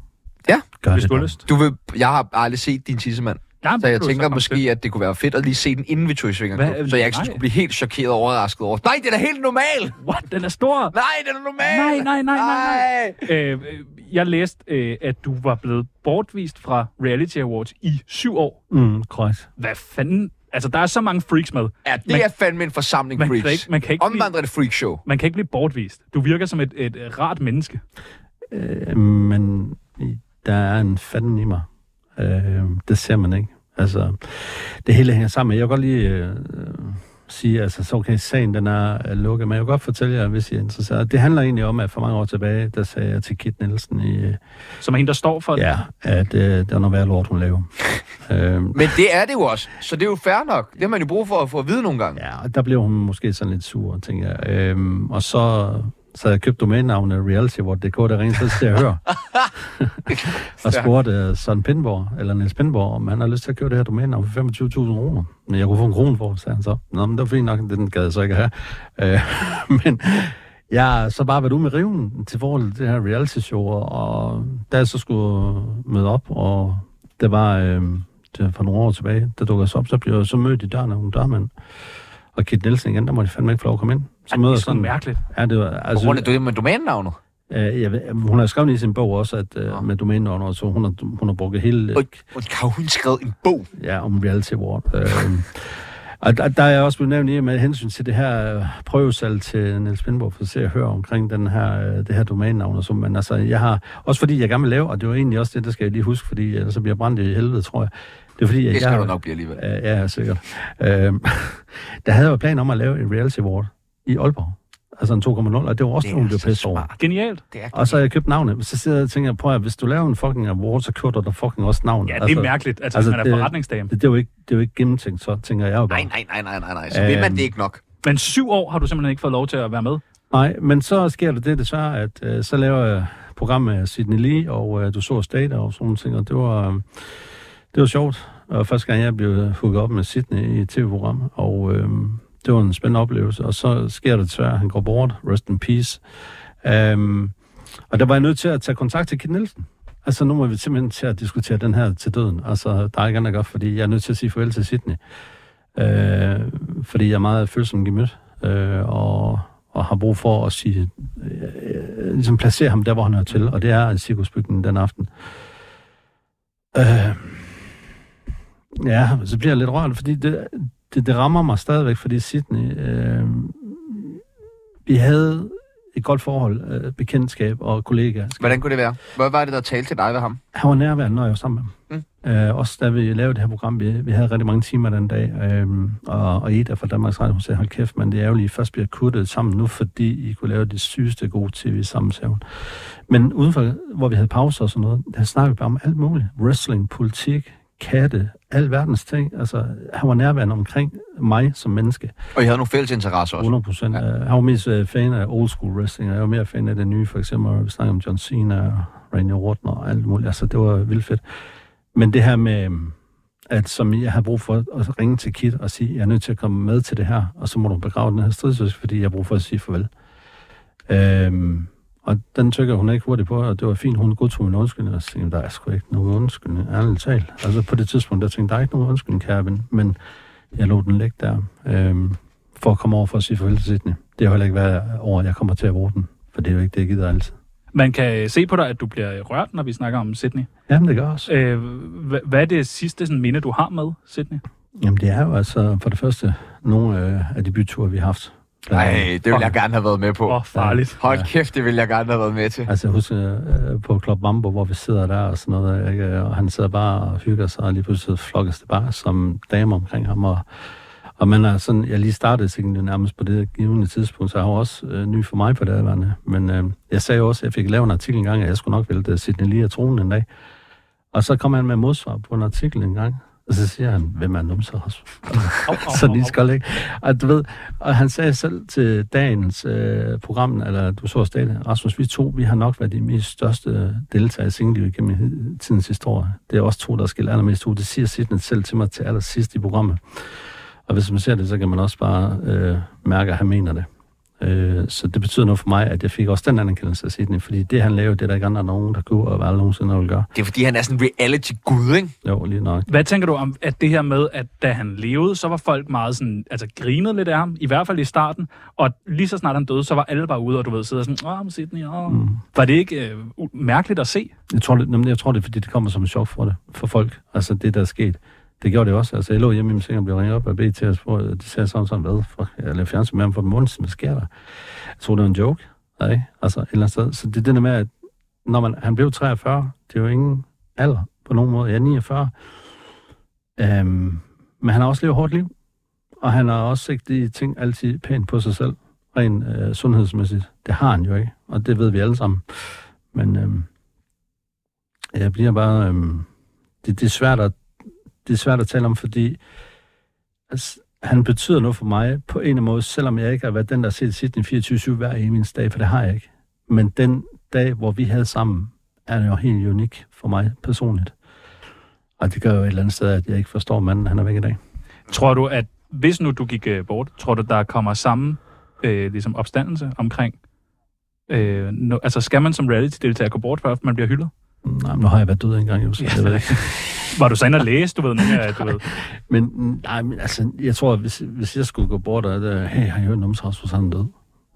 Speaker 12: Ja.
Speaker 5: Gør
Speaker 3: Hvis det du har bare. lyst.
Speaker 12: Du vil, jeg har aldrig set din tissemand.
Speaker 3: Ja,
Speaker 12: så jeg
Speaker 3: det kunne
Speaker 12: tænker
Speaker 3: så komme
Speaker 12: måske, at det kunne være fedt at lige se den, inden vi tog i
Speaker 3: Hvad?
Speaker 12: svingerklub. Så jeg ikke
Speaker 3: Nej.
Speaker 12: sådan skulle blive helt chokeret og overrasket over. Nej, det er da helt normal!
Speaker 3: What? Den er stor!
Speaker 12: Nej, den er normal!
Speaker 3: Nej, nej, nej,
Speaker 12: nej,
Speaker 3: nej. Øh, jeg læste, øh, at du var blevet bortvist fra Reality Awards i syv år.
Speaker 5: Mm, korrekt.
Speaker 3: Hvad fanden? Altså, der er så mange freaks med.
Speaker 12: Ja, det er fandme en forsamling
Speaker 3: man Kan
Speaker 12: freaks.
Speaker 3: ikke, man kan ikke
Speaker 12: Omvandrende freakshow.
Speaker 3: Man kan ikke blive bortvist. Du virker som et, et øh, rart menneske.
Speaker 5: Øh, men i- der er en fanden i mig. Øh, det ser man ikke. Altså, det hele hænger sammen. Jeg kan godt lige øh, øh, sige, altså, så okay, sagen den er øh, lukket, men jeg kan godt fortælle jer, hvis I er interesseret. Det handler egentlig om, at for mange år tilbage, der sagde jeg til Kit Nielsen i... Øh,
Speaker 3: Som er hende, der står for det.
Speaker 5: ja, at øh, det var noget værre lort, hun lavede. øh,
Speaker 12: Men det er det jo også, så det er jo fair nok. Det har man jo brug for at få at vide nogle gange.
Speaker 5: Ja, og der blev hun måske sådan lidt sur, tænker jeg. Øhm, og så, så havde jeg købt domænenavnet realityword.dk, der ringede så til at høre. og spurgte uh, Søren Pindborg, eller Niels Pindborg, om han havde lyst til at købe det her domænenavn for 25.000 kroner. Men jeg kunne få en krone for, sagde han så. Nå, men det var fint nok, den gad jeg så ikke have. Øh, men jeg har så bare været ude med riven til forhold til det her reality show, og da jeg så skulle møde op, og det var... Øh, det var for nogle år tilbage, der dukkede jeg så op, så blev jeg så mødt i døren af nogle dørmænd. Og Kit Nielsen igen, der må de fandme ikke få lov at komme ind. Så møder
Speaker 3: det er
Speaker 5: jeg
Speaker 3: sgu mærkeligt.
Speaker 5: Ja, det var,
Speaker 12: På
Speaker 5: altså,
Speaker 12: grund af det med domænenavnet.
Speaker 5: øh, jeg ved, hun har skrevet i sin bog også, at øh, med domænenavn, og så hun har, hun har brugt hele... Øh,
Speaker 12: Og har hun skrevet en bog?
Speaker 5: Ja, om reality award. Øh, og der, der, er jeg også blevet nævnt i med hensyn til det her øh, prøvesal til Niels Pindborg, for at se og høre omkring den her, øh, det her domænenavn og så, men altså, jeg har, også fordi jeg gerne vil lave, og det var egentlig også det, der skal jeg lige huske, fordi ellers så bliver jeg brændt i helvede, tror jeg. Det er fordi, at
Speaker 12: Det
Speaker 5: jeg,
Speaker 12: skal du nok blive alligevel.
Speaker 5: Ja, Øh, ja, ja, sikkert. Øhm, der havde jeg jo planer om at lave en reality award i Aalborg. Altså en 2,0, og det var også nogen,
Speaker 3: altså
Speaker 5: der blev pisse over.
Speaker 3: Genialt.
Speaker 12: Det er
Speaker 5: Og så har jeg købt navnet. Så sidder jeg og tænker, prøv at hvis du laver en fucking award, så køber du da fucking også navnet.
Speaker 3: Ja, det er mærkeligt. Altså, hvis man er forretningsdame.
Speaker 5: Det, det, er jo ikke, det er jo ikke gennemtænkt, så tænker jeg jo bare.
Speaker 12: Nej, nej, nej, nej, nej. Så vil man
Speaker 5: Øhm.
Speaker 12: det ikke nok.
Speaker 3: Men syv år har du simpelthen ikke fået lov til at være med.
Speaker 5: Nej, men så sker der det desværre, at øh, så laver jeg program med Sidney Lee, og øh, du så State og sådan nogle ting, og det var, øh, det var sjovt. Og første gang jeg blev hooket op med Sidney i et tv-program, og øh, det var en spændende oplevelse. Og så sker det desværre, at han går Øhm, bort, rest in peace. Um, og der var jeg nødt til at tage kontakt til Kit Nielsen. Altså, nu må vi simpelthen til at diskutere den her til døden. Altså, der er ikke andet godt, fordi jeg er nødt til at sige farvel til Sydney. Øh, fordi jeg er meget følsom gemyt, øh, og, og har brug for at sige, øh, ligesom placere ham der, hvor han hører til, og det er cirkusbygningen den aften. Øh, ja, så bliver jeg lidt rørt, fordi det, det, det rammer mig stadigvæk, fordi Sydney... Øh, vi havde et godt forhold, øh, bekendtskab og kollegaer.
Speaker 2: Hvordan kunne det være? Hvad var det, der talte til dig ved ham?
Speaker 5: Han var nærværende, når jeg var sammen med ham. Mm. Øh, også da vi lavede det her program, vi, vi havde rigtig mange timer den dag, øh, og, og Eda fra Danmarks Radio, hun sagde, hold kæft, men det er ærgerligt, I først bliver kuttet sammen nu, fordi I kunne lave det sygeste gode tv sammen, sagde hun. Men udenfor, hvor vi havde pauser og sådan noget, der snakkede vi bare om alt muligt. Wrestling, politik, katte, al verdens ting. Altså, han var nærværende omkring mig som menneske.
Speaker 2: Og I havde nogle fælles interesser også?
Speaker 5: 100 procent. Ja. Han var mest øh, fan af old school wrestling, og jeg var mere fan af det nye, for eksempel, vi snakker om John Cena og Randy Orton og alt muligt. Altså, det var vildt fedt. Men det her med, at som jeg har brug for at ringe til Kit og sige, jeg er nødt til at komme med til det her, og så må du begrave den her stridsøs, fordi jeg har brug for at sige farvel. Øhm, og den tykker hun ikke hurtigt på, og det var fint, hun godtog min undskyldning, og så tænkte, der er sgu ikke nogen undskyldning, ærligt talt. Altså på det tidspunkt, der tænkte, der er ikke nogen undskyldning, kære ven, men jeg lå den ligge der, øhm, for at komme over for at sige farvel til Sydney. Det har heller ikke været over, jeg kommer til at bruge den, for det er jo ikke det, jeg gider altid.
Speaker 3: Man kan se på dig, at du bliver rørt, når vi snakker om Sydney.
Speaker 5: Jamen, det gør også.
Speaker 3: Øh, hva- hvad er det sidste sådan, minde, du har med Sydney?
Speaker 5: Jamen, det er jo altså for det første nogle øh, af de byture, vi har haft.
Speaker 2: Nej, det ville jeg gerne have været med på.
Speaker 3: Åh, oh, farligt.
Speaker 2: Hold ja. kæft, det ville jeg gerne have været med til.
Speaker 5: Altså, jeg husker øh, på Club Mambo, hvor vi sidder der og sådan noget, ikke? og han sidder bare og hygger sig, og lige pludselig flokkes det bare som damer omkring ham, og, og man er sådan, jeg lige startede sikkert nærmest på det givende tidspunkt, så jeg var også øh, ny for mig på det adværende. Men øh, jeg sagde jo også, at jeg fik lavet en artikel engang, at jeg skulle nok vælte Sidney lige af tronen en dag. Og så kom han med modsvar på en artikel engang, og så siger han, hvem er numser også? så lige skal ikke. Og, du ved, og han sagde selv til dagens øh, program, eller du så også dagen, Rasmus, vi to, vi har nok været de mest største deltagere i singellivet gennem hi- tidens historie. Det er også to, der skiller allermest ud. Det siger Sidney selv til mig til allersidst i programmet. Og hvis man ser det, så kan man også bare øh, mærke, at han mener det. Øh, så det betyder noget for mig, at jeg fik også den anerkendelse af Sidney, fordi det, han lavede, det er der ikke andre nogen, der kunne, og hvad alle nogensinde vil gøre.
Speaker 2: Det er, fordi han er sådan en reality-gud, ikke?
Speaker 5: Jo, lige nok.
Speaker 3: Hvad tænker du om at det her med, at da han levede, så var folk meget sådan, altså grinede lidt af ham, i hvert fald i starten, og lige så snart han døde, så var alle bare ude, og du ved, sidder sådan, åh, Sidney, åh. Mm. Var det ikke øh, u- mærkeligt at se?
Speaker 5: Jeg tror, det, jamen, jeg tror, det er, fordi det kommer som en chok for, det, for folk, altså det, der er sket. Det gjorde det også. Altså, jeg lå hjemme i min seng og blev ringet op af BT og spurgte, de sagde sådan sådan, hvad? Fuck, jeg lavede fjernsyn med ham for en måned, siden. hvad sker der? Jeg troede, det var en joke. Nej, altså et eller andet sted. Så det er det der med, at når man, han blev 43, det er jo ingen alder på nogen måde. Jeg er 49. Øhm, men han har også levet hårdt liv. Og han har også set de ting altid pænt på sig selv, rent øh, sundhedsmæssigt. Det har han jo ikke, og det ved vi alle sammen. Men øhm, jeg bliver bare... Øhm, det, det er svært at det er svært at tale om, fordi altså, han betyder noget for mig på en eller anden måde, selvom jeg ikke har været den, der har set Sydney 24-7 hver eneste dag, for det har jeg ikke. Men den dag, hvor vi havde sammen, er jo helt unik for mig personligt. Og det gør jo et eller andet sted, at jeg ikke forstår manden, han er væk i dag.
Speaker 3: Tror du, at hvis nu du gik øh, bort, tror du, der kommer samme øh, ligesom opstandelse omkring? Øh, no, altså, skal man som reality-deltager gå bort, før man bliver hyldet?
Speaker 5: Mm, Nej, men nu har jeg været død engang, jo, så jeg ved ikke.
Speaker 3: Var du så inde og læse, du ved, nogle af, du ved?
Speaker 5: Men, nej, men altså, jeg tror, at hvis, hvis jeg skulle gå bort og, øh, hey, har I hørt om Rasmus, han er død?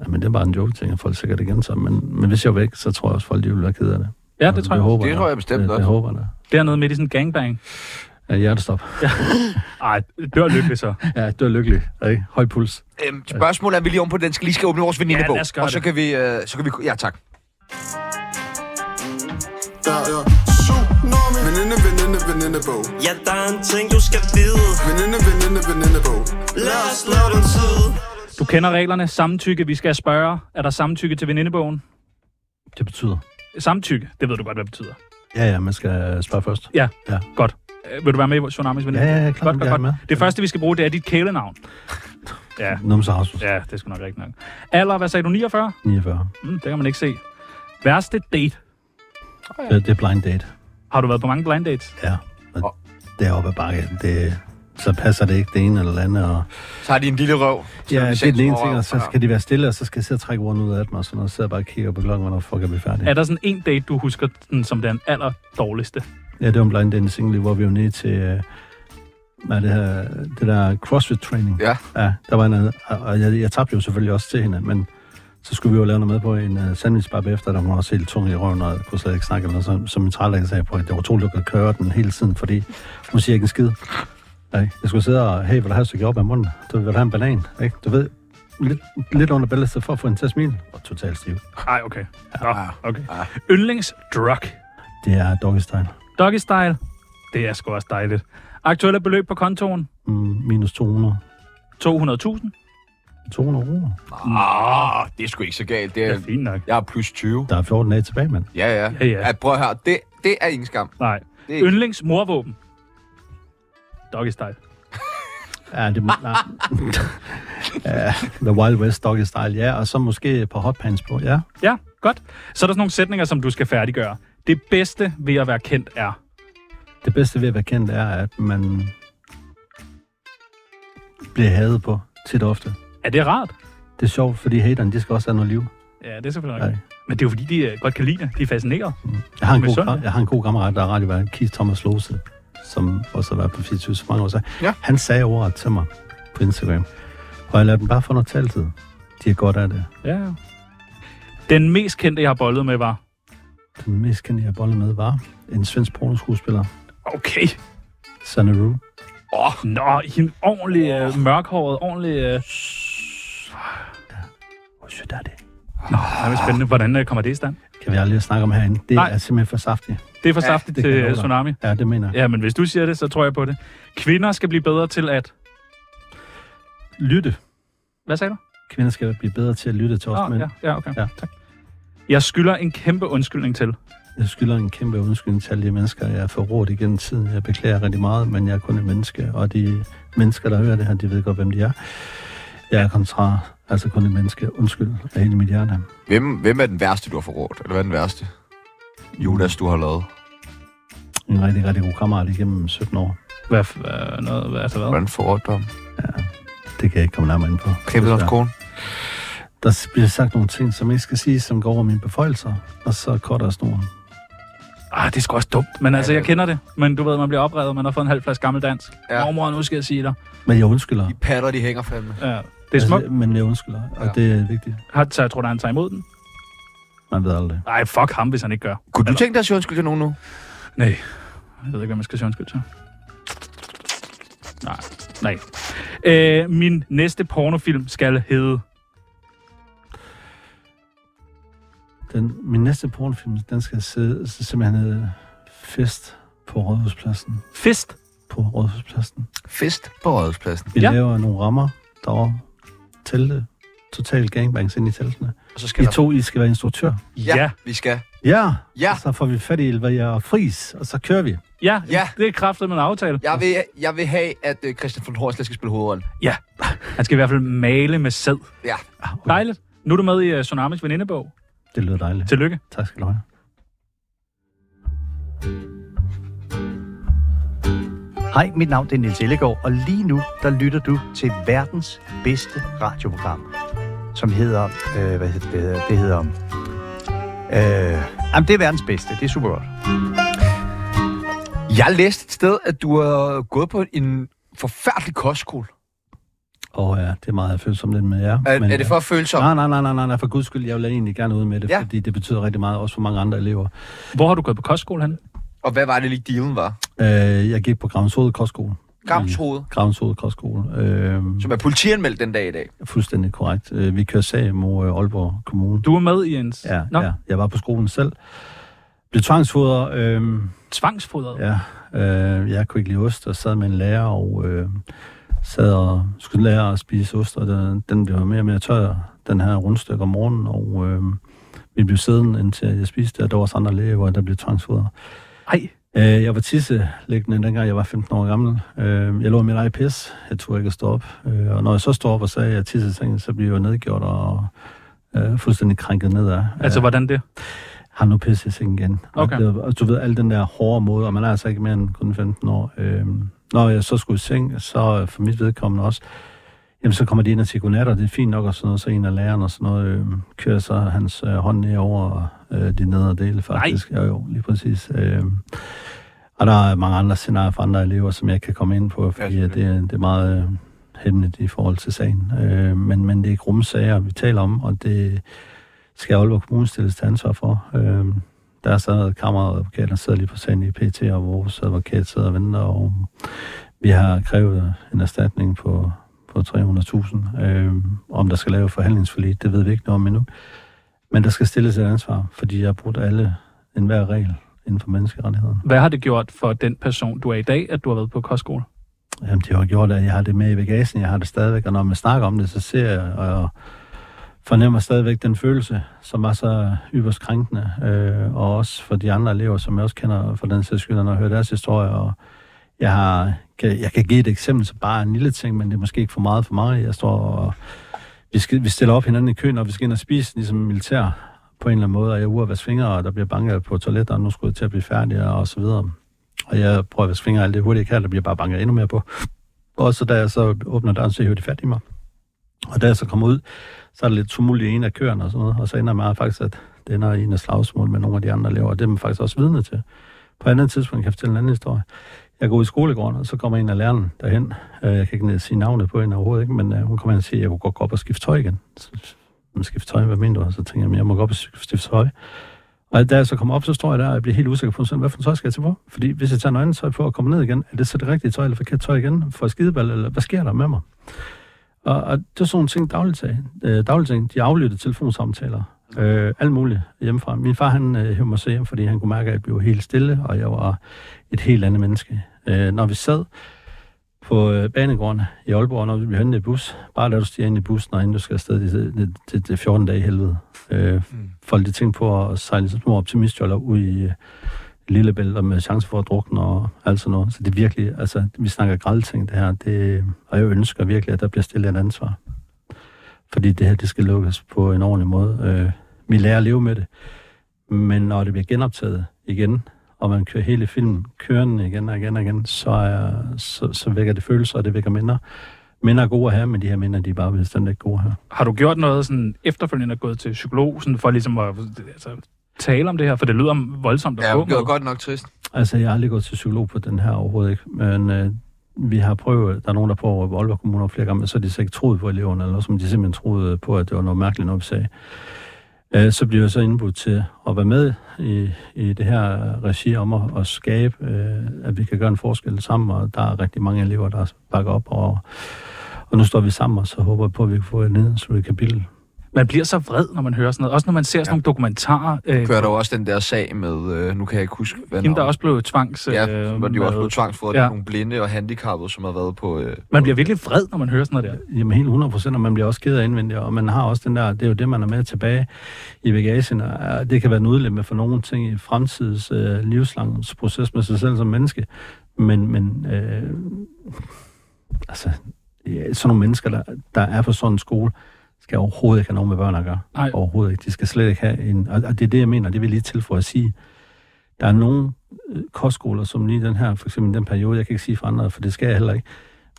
Speaker 5: Jamen, det er bare en joke, tænker folk sikkert igen så, men, men hvis jeg var væk, så tror jeg også, folk de ville være ked af det. Altså,
Speaker 3: Ja, det tror jeg.
Speaker 5: håber
Speaker 2: Det tror jeg bestemt
Speaker 5: det,
Speaker 2: også.
Speaker 5: Det håber jeg da.
Speaker 3: Dernede midt i sådan en gangbang.
Speaker 5: Ja, hjertestop.
Speaker 3: Ja. Ej, dør lykkelig så.
Speaker 5: Ja, du er lykkelig. Ikke? Høj puls.
Speaker 2: Øhm, spørgsmålet er, vi lige om på den, skal lige skal åbne vores venindebog.
Speaker 3: lad os gøre
Speaker 2: og så
Speaker 3: det.
Speaker 2: kan, vi, øh, så kan vi... Ja, tak.
Speaker 13: Der er tsunami Veninde, veninde, venindebog
Speaker 7: Ja, der er en ting, du skal vide
Speaker 13: Veninde, veninde, venindebog
Speaker 7: Lad os lave den tid
Speaker 3: Du kender reglerne. Samtykke, vi skal spørge. Er der samtykke til venindebogen?
Speaker 5: Det betyder.
Speaker 3: Samtykke, det ved du godt, hvad det betyder.
Speaker 5: Ja, ja, man skal spørge først.
Speaker 3: Ja,
Speaker 5: Ja.
Speaker 3: godt. Øh, vil du være med i Tsunamis veninde?
Speaker 5: Ja, ja, ja, klar,
Speaker 3: godt, godt,
Speaker 5: jeg er
Speaker 3: godt.
Speaker 5: med.
Speaker 3: Det første, vi skal bruge, det er dit kælenavn. Ja,
Speaker 5: Numse Rasmus,
Speaker 3: ja, det er sgu nok rigtigt nok. Alder, hvad sagde du? 49?
Speaker 5: 49.
Speaker 3: Mm, det kan man ikke se. Værste date.
Speaker 5: Ja. Det, det er blind date.
Speaker 3: Har du været på mange blind dates?
Speaker 5: Ja. Og deroppe ad bakke, det, så så passer det ikke det ene eller det andet. Og...
Speaker 2: Så har de en lille røv. så
Speaker 5: Ja,
Speaker 2: de
Speaker 5: det er
Speaker 2: seks
Speaker 5: den ene
Speaker 2: små
Speaker 5: ting,
Speaker 2: røv.
Speaker 5: og så skal de være stille, og så skal jeg sidde og trække ordene ud af dem, og sådan noget, og sidde og bare kigger på klokken, hvornår fuck er vi
Speaker 2: Mm.
Speaker 5: færdige.
Speaker 3: Er der sådan en date, du husker den, som den aller dårligste?
Speaker 5: Ja, det var en blind date single, hvor vi var nede til øh, hvad er det, her, det der CrossFit training.
Speaker 2: Ja.
Speaker 5: ja der var en, anden- og- og jeg, jeg tabte jo selvfølgelig også til hende, men så skulle vi jo lave noget med på en uh, sandwichbar bagefter, der var hun også helt tung i røven, og kunne slet ikke snakke eller noget, så, som min trælæge sagde på, at det var utroligt at køre den hele tiden, fordi hun siger ikke en skid. Nej, jeg skulle sidde og, hey, vil du have et stykke op af munden? Du vil du have en banan, ikke? Du ved, lidt, lidt under bæltestet for at få en til at smile, og totalt stiv.
Speaker 3: Ej, okay.
Speaker 2: Ah,
Speaker 3: Nå, okay. Yndlingsdrug.
Speaker 5: Det er doggy style.
Speaker 3: Doggy style. Det er sgu også dejligt. Aktuelle beløb på kontoen?
Speaker 5: Mm, minus 200.
Speaker 3: 200.000.
Speaker 5: 200 kroner.
Speaker 2: Ah, det er sgu ikke så galt. Det er, det er
Speaker 3: fint nok.
Speaker 2: Jeg er plus 20.
Speaker 5: Der er 14 dage tilbage, mand.
Speaker 2: Ja, ja.
Speaker 3: Ja, ja.
Speaker 2: ja prøv at høre, det, det er ingen skam.
Speaker 3: Nej.
Speaker 2: Det er ikke-
Speaker 3: Yndlingsmorvåben. Doggy style.
Speaker 5: Ja, det må... nej. ja, The Wild West Doggy Style, ja. Og så måske et par hotpants på, ja.
Speaker 3: Ja, godt. Så er der sådan nogle sætninger, som du skal færdiggøre. Det bedste ved at være kendt er...
Speaker 5: Det bedste ved at være kendt er, at man bliver hadet på tit og ofte.
Speaker 3: Er det rart?
Speaker 5: Det er sjovt, fordi haterne, de skal også have noget liv.
Speaker 3: Ja, det er selvfølgelig rigtigt. Men det er jo fordi, de øh, godt kan lide det. De er fascineret.
Speaker 5: Jeg har, en
Speaker 3: Men
Speaker 5: god,
Speaker 3: sådan
Speaker 5: kam- jeg har en god kammerat, der er radiovært, Keith Thomas Lose, som også har været på 24 så mange år siden. Ja. Han sagde ordet til mig på Instagram. Og jeg lader dem bare få noget taltid. De er godt af det.
Speaker 3: Ja. Den mest kendte, jeg har bollet med, var...
Speaker 5: Den mest kendte, jeg bollede med, var en svensk pornoskuespiller,
Speaker 3: Okay.
Speaker 5: Sanne Rue.
Speaker 3: Oh. Nå, i en ordentlig øh, mørkhåret, ordentlig... Øh...
Speaker 5: Hvor sødt er det?
Speaker 3: Nå, det er spændende. Hvordan øh, kommer det i stand?
Speaker 5: kan vi aldrig at snakke om herinde. Det Nej. er simpelthen for saftigt.
Speaker 3: Det er for ja, saftigt
Speaker 5: det kan jeg
Speaker 3: til
Speaker 5: love
Speaker 3: øh,
Speaker 5: dig.
Speaker 3: Tsunami.
Speaker 5: Ja, det mener jeg.
Speaker 3: Ja, men hvis du siger det, så tror jeg på det. Kvinder skal blive bedre til at...
Speaker 5: Lytte.
Speaker 3: Hvad sagde du?
Speaker 5: Kvinder skal blive bedre til at lytte til os
Speaker 3: Ah,
Speaker 5: mænd.
Speaker 3: ja, ja, okay.
Speaker 5: Ja.
Speaker 3: Jeg skylder en kæmpe undskyldning til.
Speaker 5: Jeg skylder en kæmpe undskyldning til alle de mennesker, jeg har forrådt igennem tiden. Jeg beklager rigtig meget, men jeg er kun et menneske, og de mennesker, der hører det her, de ved godt, hvem de er. Jeg er kontra, altså kun et menneske. Undskyld af hele mit hjerte.
Speaker 2: Hvem, hvem er den værste, du har forrådt? Eller hvad er den værste? Judas, du har lavet.
Speaker 5: En rigtig, rigtig god kammerat igennem 17 år.
Speaker 3: Hvad, hvad, noget, hvad, altså hvad?
Speaker 2: Hvordan forrådt du ham?
Speaker 5: Det kan jeg ikke komme nærmere ind på.
Speaker 2: Klippet hans
Speaker 5: Desværre.
Speaker 2: kone?
Speaker 5: Der bliver sagt nogle ting, som ikke skal siges, som går over mine beføjelser, og så korter jeg snoren.
Speaker 3: Ah, det er sgu også dumt. Men altså, jeg kender det. Men du ved, man bliver oprevet, man har fået en halv flaske gammel dansk. Ja. Mormor, nu skal jeg sige dig.
Speaker 5: Men jeg undskylder.
Speaker 2: Patter, de hænger fandme.
Speaker 3: Ja. Det er smukt.
Speaker 5: Altså, men jeg undskylder, og ja. det er vigtigt.
Speaker 3: Har, så jeg tror, der er en tager imod den.
Speaker 5: Man ved aldrig.
Speaker 3: Nej, fuck ham, hvis han ikke gør.
Speaker 2: Kunne du tænke dig at sige undskyld til nogen nu?
Speaker 3: Nej. Jeg ved ikke, hvad man skal sige undskyld til. Nej. Nej. Øh, min næste pornofilm skal hedde...
Speaker 5: Den, min næste pornofilm, den skal sidde, så simpelthen hedde Fest på Rådhuspladsen.
Speaker 3: Fest?
Speaker 5: På Rådhuspladsen.
Speaker 2: Fest på Rådhuspladsen.
Speaker 5: Vi ja. laver nogle rammer derovre. Telte. Total gangbangs ind i teltene.
Speaker 2: Og så skal
Speaker 5: I
Speaker 2: der-
Speaker 5: to, I skal være instruktør.
Speaker 2: Ja. ja. Vi skal.
Speaker 5: Ja.
Speaker 2: Ja.
Speaker 5: Og så får vi fat i Elvia og Fris, og så kører vi.
Speaker 3: Ja,
Speaker 2: Ja.
Speaker 3: det er kraftet med en aftale.
Speaker 2: Jeg vil, jeg vil have, at øh, Christian von Horslet skal spille hovedrollen.
Speaker 3: Ja. Han skal i hvert fald male med sæd. Ah,
Speaker 2: Ja.
Speaker 3: Dejligt. Nu er du med i uh, Tsunamis venindebog.
Speaker 5: Det lyder dejligt.
Speaker 3: Tillykke.
Speaker 5: Tak skal du have.
Speaker 14: Hej, mit navn det er Niels Ellegaard, og lige nu der lytter du til verdens bedste radioprogram, som hedder, øh, hvad hedder det, det hedder, øh, jamen det er verdens bedste, det er super godt.
Speaker 2: Jeg læste et sted, at du har gået på en forfærdelig kostskole.
Speaker 5: Åh ja, det er meget følsomt lidt med jer. øh,
Speaker 2: Er- er det for
Speaker 5: ja.
Speaker 2: følsomt?
Speaker 5: Nej, nej, nej, nej, nej, nej, for guds skyld, jeg vil egentlig gerne ud med det,
Speaker 2: Ja.
Speaker 5: ja. fordi det betyder rigtig meget, også for mange andre elever.
Speaker 3: Hvor har du gået på kostskole, han?
Speaker 2: Og hvad var det lige, dealen var?
Speaker 5: Øh, jeg gik på Gravenshoved Kostskole.
Speaker 2: Gravshoved,
Speaker 5: Gravenshoved Kostskole. Øh,
Speaker 2: som er politianmeldt den dag i dag.
Speaker 5: Fuldstændig korrekt. Øh, Vi kører sag mod øh, Aalborg Kommune.
Speaker 3: Du var med i en...
Speaker 5: Ja,
Speaker 3: Nå.
Speaker 5: ja. Jeg var på skolen selv. Blev tvangsfodret. Øh,
Speaker 3: Tvangsfodret?
Speaker 5: ja. Øh, jeg kunne ikke lide ost, og sad med en lærer, og øh, sad og skulle lære at spise ost, og den, den blev mere og mere tør, den her rundstykke om morgenen, og øh, vi blev siddende, indtil jeg spiste det, og der var også andre læger, der blev tvangsfodret.
Speaker 3: Ej.
Speaker 5: Øh, jeg var tisselæggende, dengang jeg var 15 år gammel. Øh, jeg lå i mit eget pis. Jeg turde ikke at stå op. Øh, og når jeg så står op og sagde, at jeg tissede i sengen, så bliver jeg jo nedgjort og øh, fuldstændig krænket nedad. Øh,
Speaker 3: Altså, hvordan det?
Speaker 5: Har nu pisset i sengen igen. Og
Speaker 3: Okay.
Speaker 5: Det, og du ved, al den der hårde måde, og man er altså ikke mere end kun 15 år. Øh, når jeg så skulle i seng, så øh, for mit vedkommende også, jamen så kommer de ind og siger godnat, og det er fint nok, og sådan noget, så en af lærerne og sådan noget, øh, kører så hans øh, hånd ned over øh, de nedre dele, faktisk. Nej. Jo, jo, lige præcis. Øh, og der er mange andre scenarier for andre elever, som jeg ikke kan komme ind på, fordi ja, det, er- det er meget øh, hemmeligt i forhold til sagen. Øh, men, men det er grumme sager, vi taler om, og det skal Aalborg Kommune stilles til ansvar for. Øh, der er så kammeradvokat, der sidder lige på sagen i PT, og vores advokat sidder og venter, og vi har krævet en erstatning på, på 300.000. Øh, om der skal lave forhandlingsforlig, det ved vi ikke noget om endnu. Men der skal stilles et ansvar, fordi jeg har brudt alle, enhver regel inden for menneskerettighederne.
Speaker 3: Hvad har det gjort for den person, du er i dag, at du har været på kostskole?
Speaker 5: Jamen, det har gjort, at jeg har det med i bagagen. Jeg har det stadigvæk, og når man snakker om det, så ser jeg og fornemmer stadigvæk den følelse, som var så yderst krænkende. Øh, og også for de andre elever, som jeg også kender for den sags skyld, når jeg hører deres historie. Og jeg, har, kan, jeg kan give et eksempel, så bare en lille ting, men det er måske ikke for meget for mig. Jeg står og vi, skal, vi stiller op hinanden i køen, og vi skal ind og spise, ligesom militær på en eller anden måde, og jeg er ude at vaske fingre, og der bliver banket på toilettet, og nu skulle jeg til at blive færdig, og så videre. Og jeg prøver at vaske fingre alt det hurtigt, jeg kan, og der bliver bare banket endnu mere på. Og så da jeg så åbner døren, så hiver de fat i mig. Og da jeg så kommer ud, så er der lidt tumult i en af køerne og sådan noget, og så ender jeg faktisk, at det ender i en af slagsmål med nogle af de andre elever, og det er man faktisk også vidne til. På et andet tidspunkt kan jeg fortælle en anden historie. Jeg går ud i skolegården, og så kommer en af lærerne derhen. Øh, Jeg kan ikke sige navnet på hende overhovedet, ikke? men øh, hun kommer hen og siger, at jeg kunne godt gå op og skifte tøj igen. Så man skifte tøj, hvad mener du? Og så tænker jeg, jamen, jeg må gå op og skifte tøj. Og da jeg så kommer op, så står jeg der, og jeg bliver helt usikker på, sådan, hvad for en tøj skal jeg tage på? Fordi hvis jeg tager noget andet tøj på og kommer ned igen, er det så det rigtige tøj, eller forkert tøj igen? Får jeg skideball, eller hvad sker der med mig? Og, og det er sådan nogle ting, dagligdag, øh, dagligdag, de aflyttede telefonsamtaler, øh, alt muligt hjemmefra. Min far, han øh, hævde mig så hjem, fordi han kunne mærke, at jeg blev helt stille, og jeg var et helt andet menneske. Øh, når vi sad, på øh, banegården i Aalborg, når vi bliver hentet i bus. Bare lad du stige ind i bussen, og inden du skal afsted, det, det, det, det er 14 dage i helvede. Øh, folk de tænker på at sejle sådan nogle optimistjoller ud i øh, Lillebælt, og med chance for at drukne og alt sådan noget. Så det er virkelig, altså, vi snakker grælting, det her. Det, og jeg ønsker virkelig, at der bliver stillet et ansvar. Fordi det her, det skal lukkes på en ordentlig måde. Øh, vi lærer at leve med det. Men når det bliver genoptaget igen, og man kører hele filmen kørende igen og igen og igen, så, er, så, så vækker det følelser, og det vækker minder. Minder er gode her, men de her minder, de er bare bestemt ikke gode her.
Speaker 3: Har du gjort noget sådan efterfølgende og gået til psykolog, sådan for ligesom at altså, tale om det her? For det lyder voldsomt at
Speaker 10: Ja,
Speaker 3: gå
Speaker 10: det lyder
Speaker 3: med.
Speaker 10: godt nok trist.
Speaker 5: Altså, jeg har aldrig gået til psykolog på den her overhovedet ikke, men øh, vi har prøvet, der er nogen, der prøver på Aalborg Kommune flere gange, men så har de så ikke troet på eleverne, eller som de simpelthen troede på, at det var noget mærkeligt, når vi sagde. Øh, så bliver jeg så indbudt til at være med i, i det her regi om at, at skabe, øh, at vi kan gøre en forskel sammen, og der er rigtig mange elever, der bakker op, og, og nu står vi sammen, og så håber jeg på, at vi kan få et nedsluttet kapitel.
Speaker 3: Man bliver så vred, når man hører sådan noget. Også når man ser sådan ja. nogle dokumentarer. Øh,
Speaker 12: Kører der jo også den der sag med, øh, nu kan jeg ikke huske, hvad
Speaker 3: Hende, der
Speaker 12: navnet-
Speaker 3: også blev tvangs... øh,
Speaker 12: Ja, hvor de jo også
Speaker 3: med-
Speaker 12: blev tvangsfodret
Speaker 3: Ja.
Speaker 12: ja. nogle blinde og handicappede, som har været på... Øh,
Speaker 3: Man bliver virkelig vred, når man hører sådan noget der.
Speaker 5: Jamen helt 100 procent, og man bliver også ked af indvendigt, og man har også den der, det er jo det, man er med tilbage i bagagen, og er- det kan være en udlemme for nogle ting i fremtidens øh, livslangs proces med sig selv som menneske, men, men øh, altså, ja, sådan nogle mennesker, der, der er på sådan en skole, skal overhovedet ikke have nogen med børn at gøre.
Speaker 3: Nej.
Speaker 5: Overhovedet ikke. De skal slet ikke have en... Og, og det er det, jeg mener, det vil jeg lige tilføje at sige. Der er nogle øh, kostskoler, som lige den her, for eksempel i den periode, jeg kan ikke sige for andre, for det skal jeg heller ikke,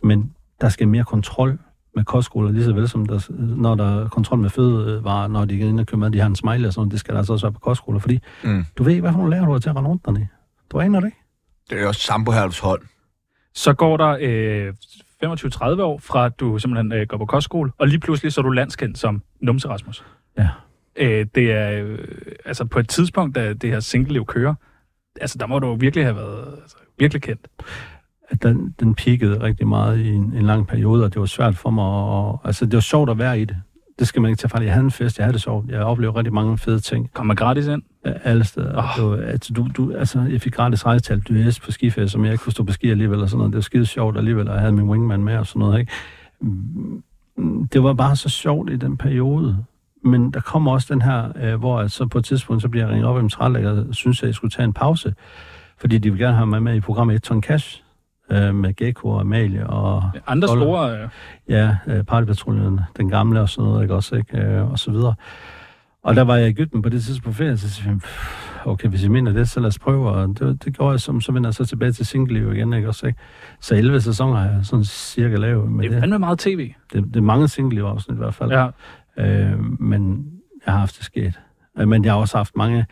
Speaker 5: men der skal mere kontrol med kostskoler, lige så vel som der, når der er kontrol med fødevarer, når de er inde og køber mad, de har en smiley og sådan noget, det skal der altså også være på kostskoler, fordi
Speaker 12: Mm.
Speaker 5: du ved, hvad for nogle lærer du har til at rende rundt dernede. Du aner det ikke.
Speaker 12: Det er jo også Sambo Herlufsholm.
Speaker 3: Så går der øh, 25-30 år fra, at du simpelthen øh, går på kostskole, og lige pludselig så er du landskendt som Numse Rasmus.
Speaker 5: Ja.
Speaker 3: Øh, det er... Øh, altså på et tidspunkt, da det her single-liv kører, altså der må du jo virkelig have været altså, virkelig kendt.
Speaker 5: at den, den peakede rigtig meget i en, en lang periode, og det var svært for mig. Og, og, altså, det var sjovt at være i det. Det skal man ikke tage fejl. i. Jeg havde en fest, jeg havde det sjovt. Jeg oplevede rigtig mange fede ting.
Speaker 3: Kom man gratis ind?
Speaker 5: Alle steder. Oh. Det var, altså, du, du, altså, jeg fik gratis rejsetal dyres på skiferie, som jeg ikke kunne stå på ski alligevel. Og sådan noget. Det var skide sjovt alligevel, og jeg havde min wingman med og sådan noget. Ikke? Mm, Det var bare så sjovt i den periode. Men der kommer også den her, øh, hvor jeg så på et tidspunkt, så bliver jeg ringet op af en trælægger, og synes, at jeg skulle tage en pause. Fordi de vil gerne have mig med i programmet 1 ton cash øh, med Gekko og Amalie og...
Speaker 3: Andre
Speaker 5: Dollar.
Speaker 3: store... Øh,
Speaker 5: Ja, øh, partypatruljen, den gamle og sådan noget, ikke også, ikke? Øh, og så videre. Og der var jeg i Ægypten på det tidspunkt på ferie, så sagde jeg, "Pff, okay, hvis I mener det, så lad os prøve. Og det, det gjorde jeg, som, så vender jeg så tilbage til single igen, ikke også? Ikke? Så 11 sæsoner har jeg sådan cirka lavet med
Speaker 3: Det er fandme meget tv.
Speaker 5: det, det er mange single-afsnit i hvert fald.
Speaker 3: Ja.
Speaker 5: Øh, men jeg har haft det sket. Øh, Men jeg har også haft mange